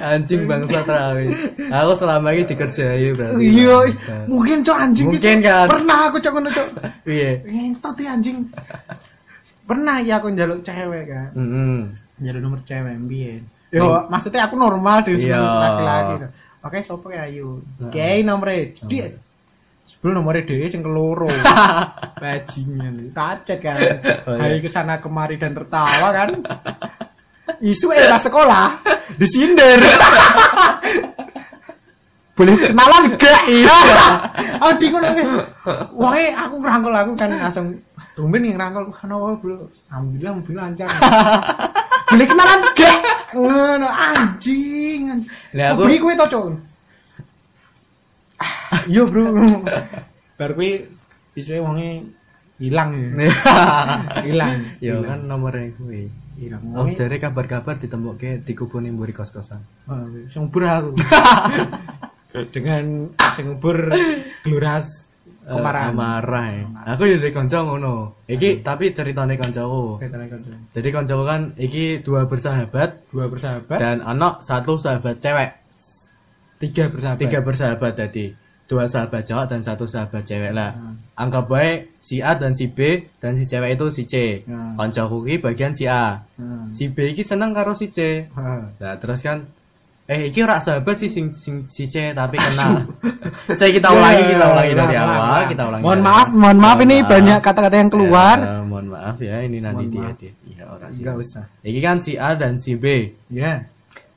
Anjing bangsa terawi. Aku selama ini dikerjai berarti. iya Bangsat. mungkin cok anjing ki, Cok. Mungkin kan. pernah aku cok ngono cok Iya. ngentot ya anjing pernah ya aku njaluk cewek kan [LAUGHS] Mm-mm. njaluk nomor cewek mbien yo maksudnya aku normal dari Iya. sebelum laki-laki kan. oke sopo ya ayo kayak nomornya dia sebelum nomornya dia yang keloro [LAUGHS] bajingan tacet kan Oh, iya. hari kesana kemari dan tertawa kan isu era sekolah [LAUGHS] disindir boleh kenalan gak [LAUGHS] iya oh bingung aku wahai aku rangkul aku kan langsung tumben yang rangkul wah no bro alhamdulillah mobil lancar boleh kenalan gak ngono anjing anjing. Lah, aku- Beri kue to Cuk. Ah, yo bro bar kue isuke wonge hilang ya Iya. hilang Ya kan nomornya gue. hilang Oh, wonge jare kabar-kabar ditembok ke dikubuni mburi kos-kosan. Oh, sing ubur aku. Dengan sing ubur gluras Eh, kemaran. Amarah ya. Aku ya dari konco ngono. Iki tapi ceritane koncoku. Jadi koncoku kan iki dua bersahabat Dua bersahabat, dan anak satu sahabat cewek. tiga bersahabat. Tiga bersahabat tadi. Dua sahabat cowok dan satu sahabat cewek lah. Anggap baik si A dan si B dan si cewek itu si C. Hmm. Koncoku iki bagian si A. Hmm. Si B iki seneng karo si C. Ah. Nah, terus kan eh iki ora sahabat sih sing sing si C tapi [LAUGHS] kenal. Saya Iya, kita ulangi, kita ulangi dari Pelan, pelan, awal, pelan. kita ulangi. iya, Mohon dari maaf, awal. mohon maaf ini maaf. banyak kata-kata yang keluar. Ya, eh, mohon maaf ya, ini nanti Mohon maaf. diedit. Iya, ora sih. Enggak usah. Iki kan si A dan si B. Ya.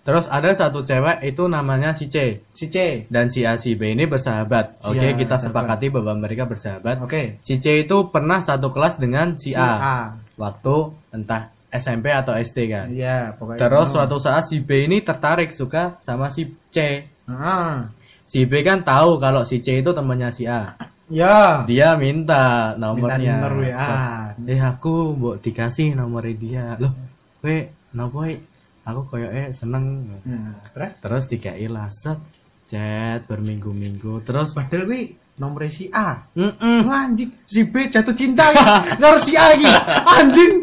Terus ada satu cewek itu namanya si C Si C. dan si A si B ini bersahabat. Oke, Iya, kita bersahabat. sepakati bahwa mereka bersahabat. Oke. Si C itu pernah satu kelas dengan si, A. Si A. Waktu entah SMP atau SD kan. Iya, pokoknya. Terus suatu saat si B ini tertarik suka sama si C. Heeh. si B kan tahu kalau si C itu temannya si A Ya. dia minta Minta nomornya nomor WA. So- eh aku mbok dikasih nomornya dia loh we nopo we? aku koyo eh seneng Nah, terus terus tiga set chat berminggu-minggu terus padahal kuwi nomor si A. mm Wah, anjing si B jatuh cinta [LAUGHS] ya. Karo si A iki. Anjing.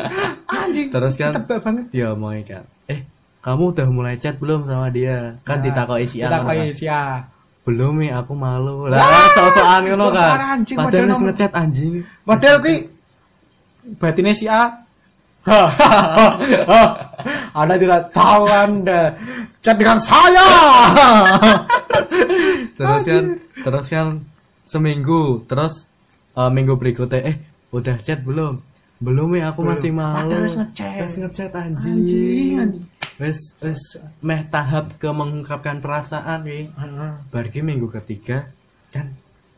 Anjing. Terus kan- tebak banget. dia omongin kan eh kamu udah mulai chat belum sama dia kan Ya, ditakoi si A ditakoi kan? si A. belum nih aku malu lah sok-sokan ngono sok-sokan kan anjing, padahal padahal wis nomor- ngechat anjing Padahal kuwi batinnya Iya, si A. [LAUGHS] Anda tidak tahu Anda chat dengan saya. terus kan terus kan seminggu terus eh, minggu berikutnya eh udah chat belum belum ya aku masih malu Padahal wis ngechat. kan. Wis ngechat Anjing, anjing anjing. wes wes meh tahap ke mengungkapkan perasaan nih Bargi minggu ketiga kan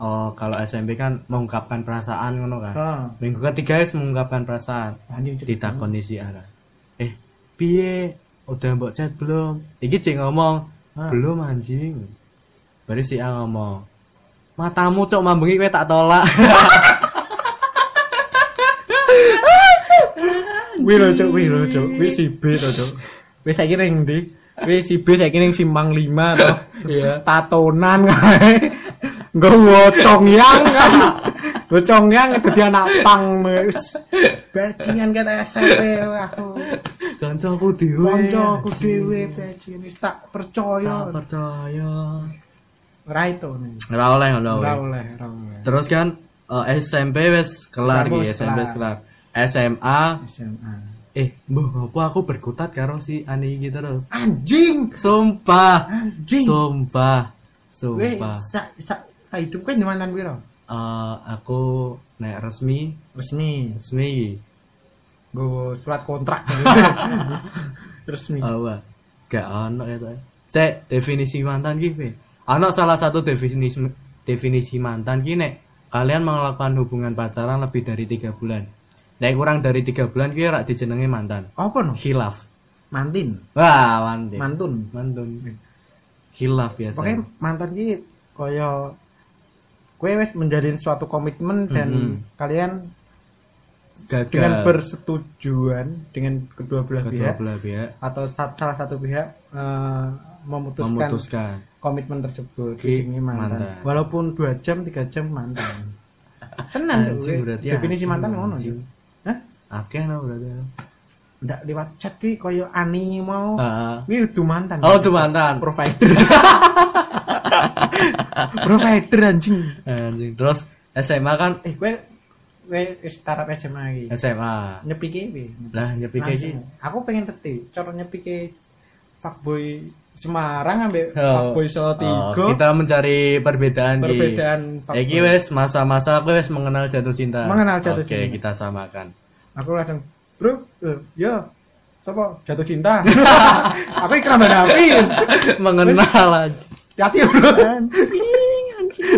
oh kalau SMP kan mengungkapkan perasaan ngono kan. Ah, Minggu ketiga wis mengungkapkan perasaan anjing chat. ditakoni si A kan. Eh, piye? Udah mbok chat belum? Iki cek ngomong, Ah. belum anjing. Baru si A ngomong, matamu cok mambengi kowe tak tolak. [LAUGHS] Wih lo cok, wih lo cok, wih si B lo cok. Wih saya kira yang di, wih si B saya kira yang simpang lima toh. Iya. Tatonan kae. Nggak wocong yang kan. Wocong yang itu dia anak pang mes. Bajingan kata SMP aku. [LAUGHS] Kancaku dhewe. Koncoku anjing. dhewe bajingan wis tak iya, Tak percaya. percaya. Ora itu nih. Ora oleh ngono Ora weh. oleh, ora oleh. Terus kan eh, SMP wes kelar SMP iki, wes SMP wes kelar. kelar. SMA SMA. Eh, mbah apa aku berkutat karo si Ani iki terus. Anjing, Sumpah. anjing. Sumpah. Wih, Sumpah. sa sa sa hidup kan di mantan piro? Eh, aku naik resmi, Resmi. resmi iki. gue surat [LAUGHS] kontrak [LAUGHS] resmi Oh, wah. Gak ono ya toh. Cek definisi mantan ki, Fe. Ono salah satu definisi definisi mantan ki nek kalian melakukan hubungan pacaran lebih dari tiga bulan. Nek kurang dari tiga bulan ki rak dijenengi mantan. apa no Khilaf. mantin Wah, mantep. mantun Mantun. Khilaf ya. pokoknya mantan ki koyo kue wes menjadi suatu komitmen dan Mhm. kalian gagal. dengan ya. bersetujuan dengan kedua belah kedua pihak belah pihak atau sa- salah satu pihak eh, memutuskan memutuskan komitmen tersebut Ki, ujungnya mantan. mantan. walaupun dua jam tiga jam [LAUGHS] mantan tenan Anjing, tuh berarti definisi anjing, mantan ngono anjing. Cuk. Hah? oke no berarti no. ndak lewat chat ki koyo anime mau Ah, Ini udah mantan. ah. oh itu mantan Provider. [LAUGHS] Provider anjing. anjing terus SMA kan Eh, gue gue startup SMA lagi. SMA Nyepi kewe. lah ya nyepi kayak Langsung. Aku pengen ngerti cara nyepi ke fuckboy Semarang ambek Oh. Oh, fuckboy Salatiga. kita mencari perbedaan di perbedaan Iki fuckboy. wes masa-masa aku wes mengenal jatuh cinta. Mengenal jatuh Oke, cinta. kita samakan. [LAUGHS] Aku langsung, "Bro, eh, ya Sopo jatuh [LAUGHS] cinta. aku ikram banget. mengenal aja. [LAUGHS] Hati bro.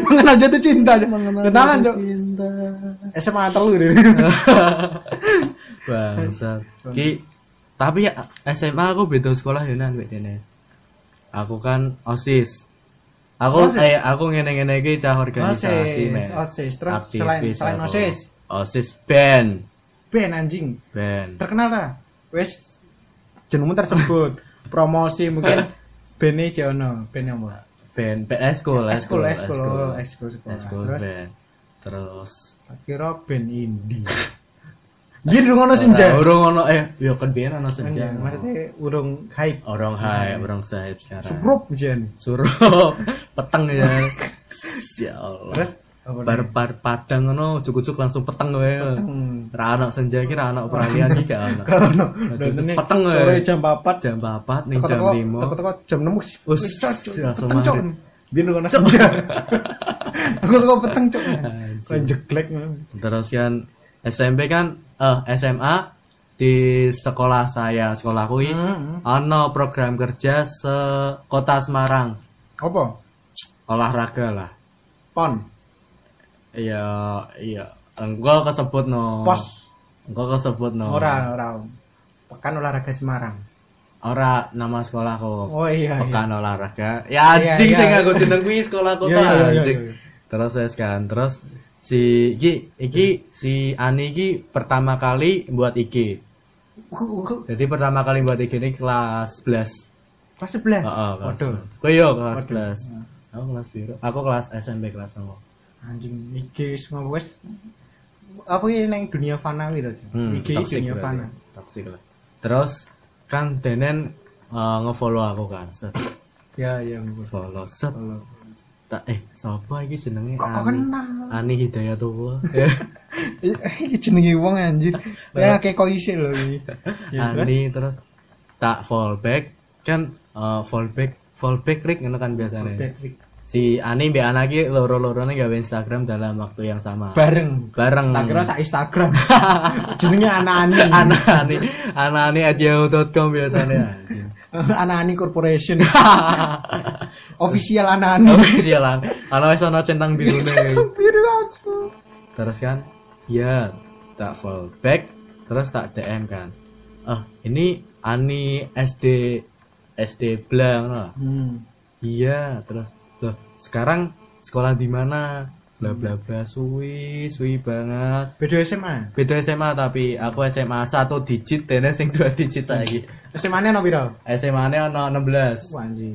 Mengenal jatuh cinta. Kenalan, Cok. cinta. SMA telu deh. Bangsat. Ki, tapi ya SMA aku beda sekolah Yunan wek dene. Aku kan OSIS. Aku OSIS? eh aku ngene-ngene iki cah organisasi OSIS, men. OSIS. Terus Aktivis selain selain aku. OSIS, OSIS band, Ben anjing band. terkenal lah. Wes jenengmu [LAUGHS] tersebut. Promosi mungkin Bene Jono, Ben apa? Band band eskul, Eskul, eskul, eskul, eskul sekolah. Eskul Terus band. Terus tak kira Ben Indi. [LAUGHS] Dia dulu ngono Nah, senja. urung ono eh yo kan biyen ono senja. Maksudnya urung hype. Orang hai, Hmm. orang sahib sekarang. Subrup jen. Suruh [LAUGHS] peteng ya. ya Allah. Terus apa bar nih? bar padang ngono cucuk langsung peteng wae Peteng. ra ana senja iki ra ana peralihan iki gak ana Hmm. Kalau no, Peteng, nontonnya peteng, sore eh. jam 4 jam 4 ning jam teko-teko 5 teko-teko jam 6 Us, wis cocok langsung peteng cok maghrib. biar ngono senja [LAUGHS] aku teko peteng cok kok jeglek terus kan SMP kan eh SMA di sekolah saya sekolah kui Hmm. ana program kerja se kota Semarang apa olahraga lah pon iya iya engko kesebut no pos engko kesebut no ora ora pekan olahraga Semarang Ora nama sekolah kok. Oh iya. iya. pekan olahraga. Ya Iya, anjing iya. sing aku jeneng kuwi sekolah kota Iya, iya, iya, anjing. iya. Terus wes kan, terus si iki iki si Ani iki pertama kali buat iki. Ku- ku- Jadi pertama kali buat iki ini kelas 11. Kelas sebelah. Heeh, kelas. Eh, Waduh. Kowe yo kelas Waduh. 11. Aku kelas biru. Aku kelas SMP kelas 0. Anjing iki semua wes apa ini neng dunia fana gitu. Hmm, iki toxic dunia berarti. fana. Toxic lah. Terus kan Denen eh, ngefollow aku kan. Set, Ya ya. gua. follow set. Kalau Nah, Tak eh sapa iki jenenge? kok kan? Ya, kok Ani. kenal? Ani [LAUGHS] Hidayatullah. Iki jenenge wong anjir. Ya kayak kok isih lho iki. Ya, terus? Ani terus tak fallback kan eh, fallback fallback Rick ngono kan biasanya Patrick. si Ani mbak Ana ki loro-lorone gawe Instagram dalam waktu yang sama Bareng. bareng Tak kira sak Instagram. Jenenge Anani. [LAUGHS] Ana [LAUGHS] Ani Ana Ani at yahoo.com biasanya [LAUGHS] [LAUGHS] Anani [LAUGHS] Corporation. Official Anani. tapi sialan ana wis ana centang birune Biru aku. terus kan ya tak fallback terus tak DM kan ah ini Ani SD SD blank lah Hmm. Iya, terus loh sekarang sekolah di mana? Bla bla bla suwi, suwi banget. Beda SMA. Beda SMA tapi aku SMA satu digit dene sing dua digit saiki. SMA-ne ono piro? SMA-ne ono 16. Wanji.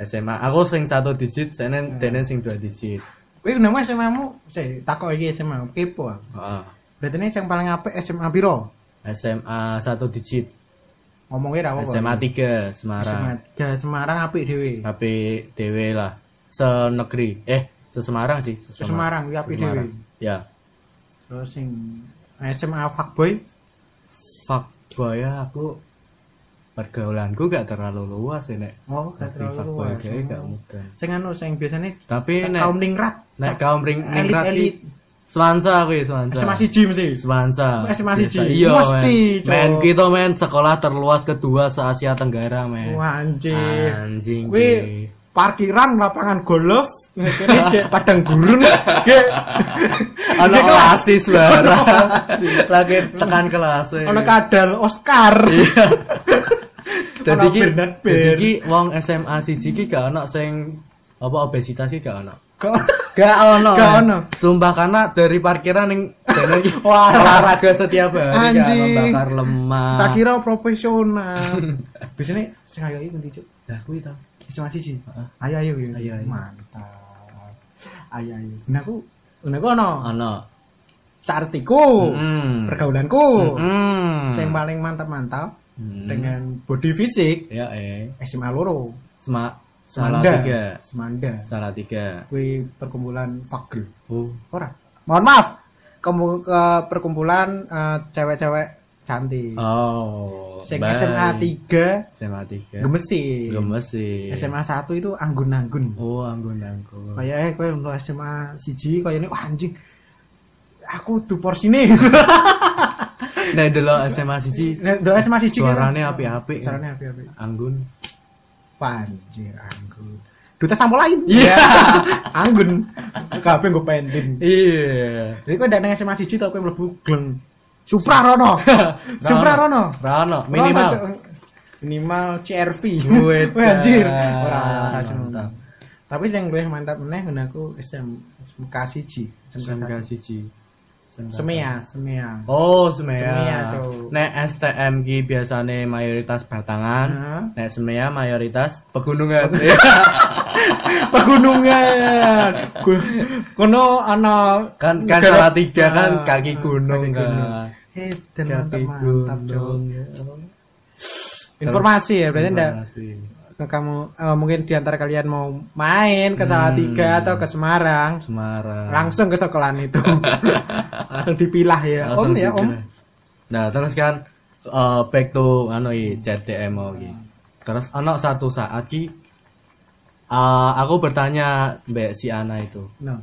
SMA aku sing satu digit dene dene sing dua digit. Wih, nama SMA-mu? Saya takok iki SMA kepo. aku. Heeh. Berarti ini yang paling apik SMA piro? SMA satu digit, Ngomongnya ra apa? SMA 3 SMA Semarang. tiga Semarang apik dhewe. Tapi dewe lah. Senegeri. Eh, sesemarang sih, sesemarang. Semarang kuwi apik dhewe. Ya. Terus sing eh, SMA fuckboy fuck boy ya, aku pergaulanku gak terlalu luas ya nek Oh, gak tapi terlalu fuck boy luas. kayak gak mudah Sing anu sing biasanya tapi nek kaum ningrat, nek kaum ring elit ningrat elit. ki- Swansa aku ya Swansa SMA siji mesti. Swansa SMA siji. Biasa. iya Mesti, men men Cok. kita men sekolah terluas kedua se Asia Tenggara men Wah, anjir. anjing Kuwi ki. parkiran lapangan golf [LAUGHS] ngekene cek padang gurun ge ono Ini kelas. oasis [LAUGHS] barang lagi tekan kelas ya. ono kadal Oscar. Iya. [LAUGHS] Dadi Orang ki Bernard Bear. dadi ki wong SMA siji ki gak ono sing apa obesitas ki gak ono. Kok- Gak ono. Gak eh. ono. Sumpah karena dari parkiran [LAUGHS] ning dene ki Wah. olahraga setiap hari gak ono Anjing. bakar lemak. Tak kira profesional. Ah. [LAUGHS] Biasanya sing ayo iki ngendi, Cuk? Lah kuwi ta. Cuma siji. Heeh. Ayo ayo ya. Ayo, ayo. Mantap. Ayo ayo. Nah aku nah aku ono Ono. sartiku, Mm. pergaulanku. Mm. Sing paling mantap-mantap Mm. dengan body fisik ya eh SMA loro. Sema salah Semanda. tiga. Semanda. Salah tiga. Kuwi perkumpulan fagel. Oh. Ora. Mohon maaf. Kemu ke perkumpulan eh, cewek-cewek cantik. Oh. Sing bye. SMA 3 SMA 3. gemesi. Gemes sih. SMA 1 itu anggun-anggun. Oh, anggun-anggun. kayak eh kowe lu SMA siji kayak ini wah anjing aku tuh porsine Nah, delok SMA siji do SMA siji suarane apik-apik. carane api-api Anggun. panjir anggun duta sampo lain Iya. [LAUGHS] anggun kabeh nggo pending Iya. jadi kowe ndak nang SMA siji tau kowe mlebu gleng Supra Rono Supra Rono Rano Rono, minimal. Cok. minimal CRV Wih, Wah, [LAUGHS] anjir dah. ora ora seneng. Mantap. tapi yang gue mantap meneh ngene aku SMK siji SMK siji. SMK. Semea Semea Oh, semea. Semea, Cok. Nek STM ki biasane mayoritas batangan. Nah. Nek semea mayoritas pegunungan. pegunungan Ku- kuno ana [LAUGHS] kan kan negara- salah tiga kan Ah, kaki gunung kaki kan. Eh, dan Kaki mantap mantap Cok. gunung. Ya informasi ya berarti ndak Makasih. ke kamu eh, mungkin diantara kalian mau main ke Salatiga atau ke Semarang Semarang. langsung ke sekolahan [LAUGHS] itu langsung dipilah ya om Langsung ya om dipilih. Nah, terus kan eh, back to anu i CTM mau iki. Terus ana satu saat ki eh, aku bertanya mbak si Ana itu. no.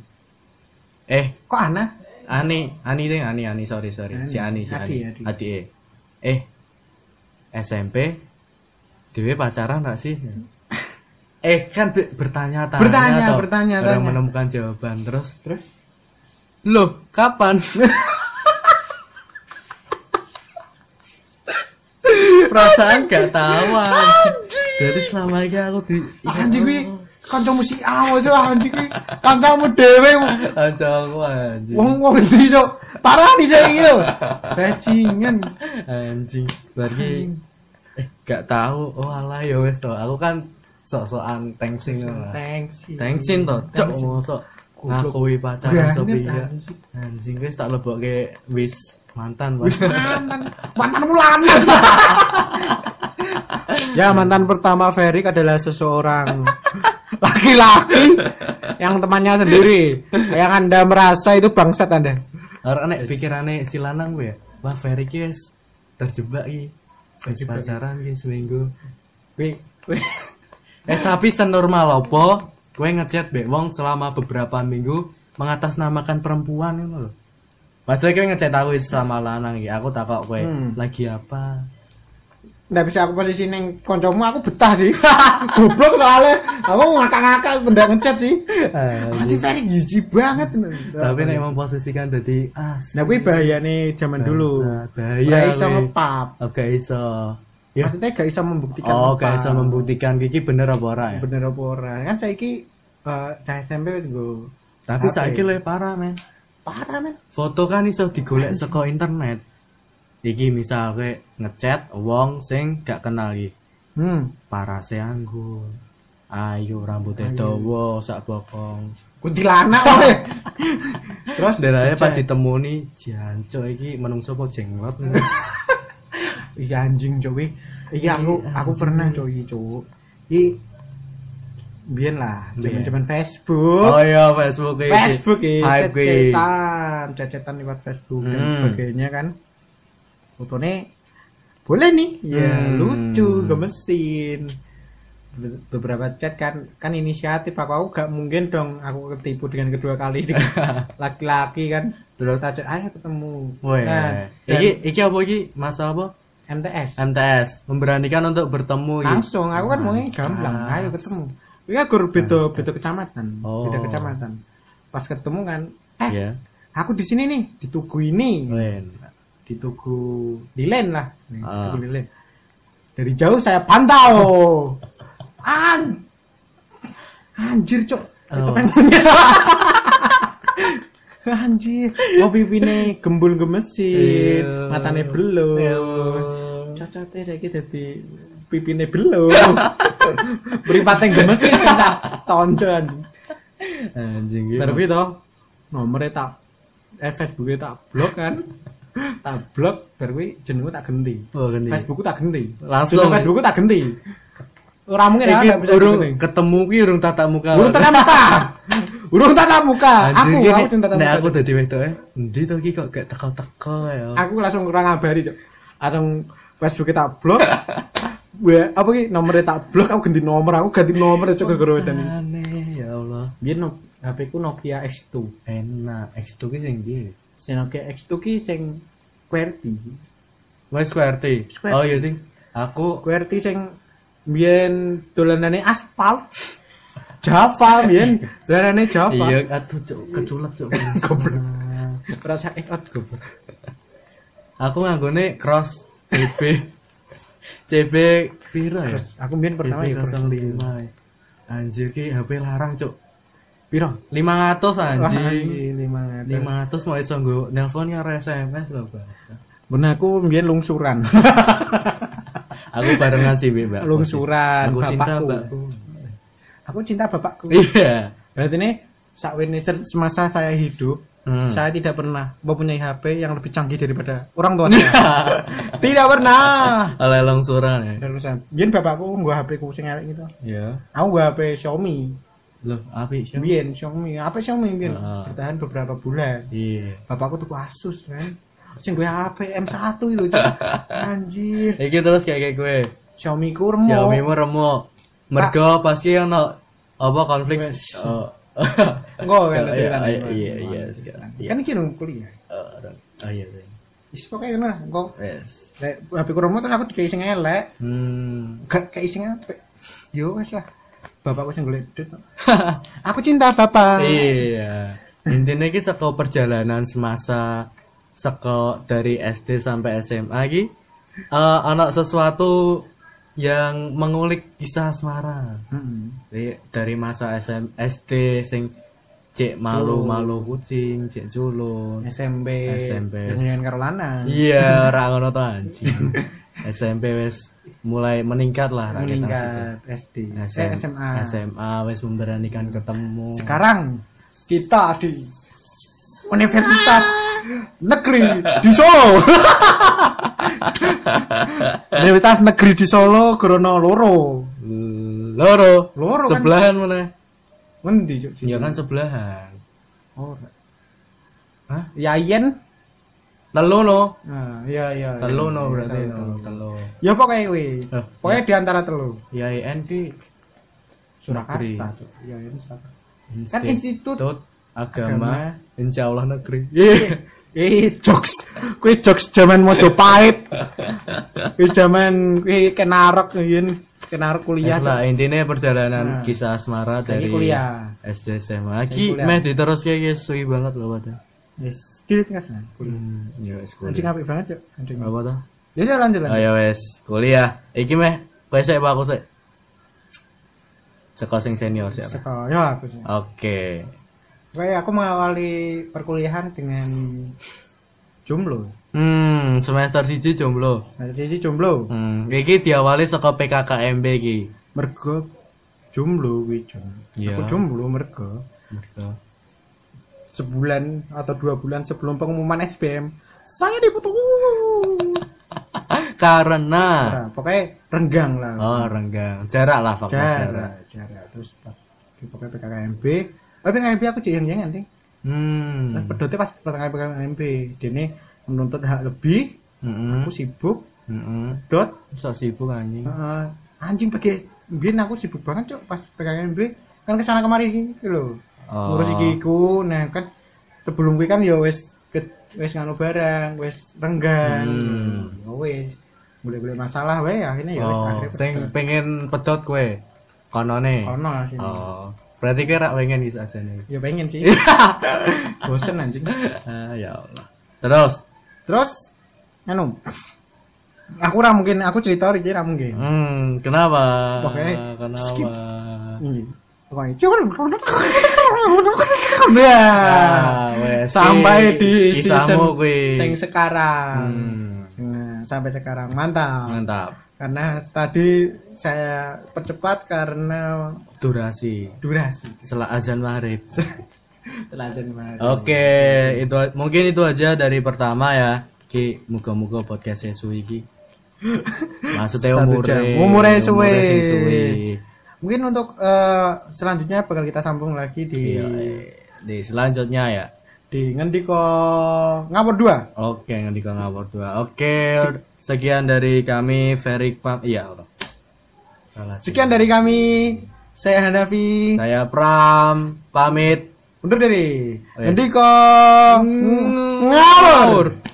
Eh, kok Ana Ani, Ani deh, Ani, Ani, sorry, sorry. Ani. Si Ani, si Adi, Ani. Adi, Adi. eh. Eh, SMP, Dewi pacaran gak [LAUGHS] sih? eh, kan be- bertanya-tanya. Bertanya, toh. bertanya, Baru tanya. menemukan jawaban. Terus, terus Loh, [LAUGHS] kapan? perasaan gak tahu anjing. Jadi selama ini aku di Ah, anjing kuwi kancamu si awo cok Ah, anjing kuwi kancamu dhewe Anjing aku anjing. wong wong ndi cok parah nih saya gitu bajingan Anjing. Berarti Anjing. eh gak tahu. Oh alah ya wes toh. Aku kan sok-sokan tengsin lah. thanks Tengsin toh. Cok mosok Goblok. ngakui pacaran sepia. Berani Anjing wes tak lebokke wis [LAUGHS] mantan Wis Pak. mantan mantan ulan. [LAUGHS] ya mantan pertama Ferik adalah seseorang laki-laki yang temannya sendiri yang anda merasa itu bangsat anda Orang nek pikirane si lanang kuwi ya. Wah, Ferry ki wis terjebak ki. Wis pacaran ki seminggu. Kuwi kuwi- [LAUGHS] Eh tapi senormal opo kowe ngechat mbek wong selama beberapa minggu mengatasnamakan perempuan ngono lho. Maksudnya kowe ngechat aku sama lanang iki, aku takok kowe Hmm. lagi apa? nggak bisa aku posisi neng koncomu aku betah sih [LAUGHS] goblok soalnya aku ngakak-ngakak benda ngechat sih masih Ferik jijik banget Nah, iya. tapi nek memposisikan dadi as. nah gue bahaya nih zaman Nah, dulu Bangsat, Gak bahaya. iso Ya, ngepap Oke iso. maksudnya gak iso membuktikan Iya. Oh, gak ngepap. iso membuktikan iki bener apa ora ya? bener apa ora kan saiki eh cah SMP wis nggo Tapi Apa saiki ya? luwih parah men. parah men Foto kan iso digolek saka internet. Iki misal kowe ngechat wong sing gak kenal iki. hmm Parase anggun. Ayo rambutnya dawa sak bokong. [LAUGHS] kuntilanak wae terus Derane dicek. pas ditemoni jancuk iki menungso apa jenglot. men? iya anjing cuy iya aku Iya, aku anjing. pernah cuy cuy i biyen lah Biyen. zaman-zaman Facebook [LAUGHS] Iya. oh iya Facebook iki. Facebook ya Hype iki. cecetan cecetan lewat Facebook dan Hmm. sebagainya kan fotonya boleh nih ya Hmm. lucu gemesin Be- beberapa chat kan kan inisiatif aku aku gak mungkin dong aku ketipu dengan kedua [LAUGHS] kali dengan laki-laki kan Terus kita chat ayo ketemu Woi, Nah, dan iki iki apa iki? Masalah apa? MTS MTS memberanikan untuk bertemu iki. langsung aku kan mau gamblang Ah. ayo ketemu Iya guru beda beda kecamatan Oh. beda kecamatan pas ketemu kan eh Iya. aku di sini nih di tugu ini Wen. di tugu Lilen lah Nih, Ah. tugu Lilen dari jauh saya [LAUGHS] pantau an anjir cok itu kan- Oh. pengennya [LAUGHS] anjir Oh, mau pipine gembul gemesin Iya. matane Iya. belum cocoknya saya kita di pipine [LAUGHS] belum beripatnya gemesin kita tonjon Anjing. iya. iki. tapi toh nomornya tak eh Facebooknya tak blok kan tak blok baru gue jenengku tak ganti Oh, gini. Facebookku tak ganti Langsung. Jeneng Facebookku tak ganti ora mungkin Iki ada bisa urung ganti. ketemu ki urung tatap muka. urung tatap muka urung tatap muka aku Anjing, aku nek- cinta tatap nek aku muka dadi wedok e. Endi to ki kok gak teko-teko ya. aku langsung kurang ngabari cok langsung Facebooknya tak [LAUGHS] blok Gue apa ki nomornya tak blok aku ganti nomor aku ganti nomor cok gara-gara wedan iki. Aneh ya Allah. Oh, biyen no, HP ku Nokia X2 Enak. X2 ki sing ndi? sing Nokia X2 ki sing QWERTY Wes square T. Square Oh T. iya Ting. Aku QWERTY sing biyen dolanane aspal Java biyen dolanane Java iya aduh cuk keculap cuk. [LAUGHS] Goblok. rasa ikut goblok Aku nganggone cross [LAUGHS] CB. CB pira ya? Terus aku biyen pertama ya CB 05. ya. Anjir ki HP larang cuk. piro 500 anjing. lima lima 500 mau iso nggo nelpon karo SMS lho, Bang. bener aku biyen [LAUGHS] lungsuran Aku barengan sih, Mbak. lungsuran Aku cinta, bapakku Mbakku. aku cinta bapakku Iya. berarti nih sakwene ser- semasa saya hidup Hmm. saya tidak pernah mempunyai HP yang lebih canggih daripada orang [LAUGHS] tua saya tidak pernah [LAUGHS] Oleh longsoran ya. terus biyen bapakku gua HP ku sing elek gitu Iya. aku gua HP Xiaomi Loh, apik sih. biyen Xiaomi HP Xiaomi biyen Ah. bertahan beberapa bulan Iya. bapakku tuh Asus kan sing gue HP M1 itu [LAUGHS] Cok. anjir Iki terus kayak kayak gue. Xiaomi ku remo Xiaomi mu remo. Mergo pasti yang no apa konflik. Wes. [LAUGHS] Oh. [LAUGHS] Iya, enggak kan cerita iya, iya, iya, iya. kan iki dong kuliah Oh, orang- oh, iya. iya. wis pokoke ngono lah engko Wes. Lek HP ku remo terus aku dikei sing elek Hmm. [LAUGHS] gak kei sing apik yo wis lah bapakku sing golek duit aku cinta bapak Iya. Intinya iki saka perjalanan semasa saka dari SD sampai SMA iki eh, anak sesuatu yang mengulik kisah asmara. Mm-mm. Jadi, dari masa SM, SD sing cek malu-malu kucing, cek culun. SMP SMP. nyanyian karo lanang Iya, ra ngono to [LAUGHS] anjing. SMP wis mulai meningkat lah ra kita situ. meningkat SD eh, SM SMA SMA wis memberanikan ketemu. sekarang kita di Universitas Negeri di [LAUGHS] Solo Universitas Negeri di Solo Grono Loro Loro, Loro kan. sebelahan mana? Wendi Cuk, Oh, Ya situ. kan sebelahan. Ora. Hah? Ya, Yayen Telu no. nah ya ya Telu no Iya, berarti telu. iya. telu telu. ya pokoknya kuwi Eh, pokoknya di antara telu Ya IN di Negeri. Surakarta Cuk. Yayen Iya, Surakarta kan Institut institut Agama, Insya Allah Negeri. Iya. Eh, jokes. Kuwi jokes jaman Mojopahit. Kuwi jaman kuwi kenarok yen kenarok kuliah. Wes lah intinya perjalanan Iya, Nah. kisah asmara Saiki dari kuliah. SD SMA. Ki kuliah. meh diteruske ki suwi banget lho padahal. Wis, kilit ngas nah. Kuliah. Hmm, ya wes Anjing kuliah. apik banget, Cuk. Anjing. Apa toh? Ya saya lanjut lagi. Ayo wes kuliah. Iki meh kowe sik apa aku sik. Saka sing senior sik. Pak. Seko, ya aku sih. Oke. Kuwi aku mengawali perkuliahan dengan jomblo. Hmm, semester siji jomblo. Nah, jadi jomblo. Hmm, iki diawali saka PKKMB iki. Mergo jomblo kuwi jomblo. Iya. Aku jomblo mergo Mergo. sebulan atau dua bulan sebelum pengumuman SBM saya dibutuh [LAUGHS] Karena Nah, pokoknya renggang lah. oh renggang. Jarak lah faktor jarak. jarak, jarak. Terus pas di pokoknya PKKMB. Oh, PKKMB aku jadi yang nanti. Nah, Hmm. pedotnya pas pertengahan PKKMB. Dene menuntut hak lebih. Heeh. Aku sibuk. Heeh. Dot. Hmm, Sok sibuk anjing. eh, anjing pergi. Biar aku sibuk banget cok pas PKKMB. Kan kesana kemari gitu loh. Oh. Ngurus iki iku. Nah kan sebelum gue kan ya wes ke wes nganu barang, wes renggang. Hmm. Ya wes boleh-boleh masalah wae akhirnya ya wes Oh, akhirnya sing pengen pedot kue konone. ono lah sih. Oh, berarti kue rak pengen gitu aja nih. Ya pengen [LAUGHS] sih. Bosen anjing. [LAUGHS] Ah, ya Allah. Terus, Terus anu. Aku ora mungkin aku cerita iki ora mungkin. hmm, kenapa? Oke, kenapa? eh, skip. Iya. Pokoknya, coba- Nah, Ah, wes, sampai ki, di season kisahmu kue. sing sekarang. Hmm, Nah, sampai sekarang mantap. mantap. Karena tadi saya percepat karena Durasi. durasi. Setelah azan maghrib. Selanjutnya. mari. Oke, itu mungkin itu aja dari pertama ya. Ki, muga-muga podcastnya suwi ki. Maksudnya Satu umure, jam. Umure Iya, suwe. sing suwi. Mungkin untuk eh, selanjutnya bakal kita sambung lagi di Iya, di selanjutnya ya. di ngendiko ngapur dua Oke, nanti ke ngapur dua. Oke, sekian dari kami Ferik Pam. Iya, Allah. Salah. sekian dari kami saya Hanafi Saya Pram pamit. undur diri Oh, iya. ngendiko ngawur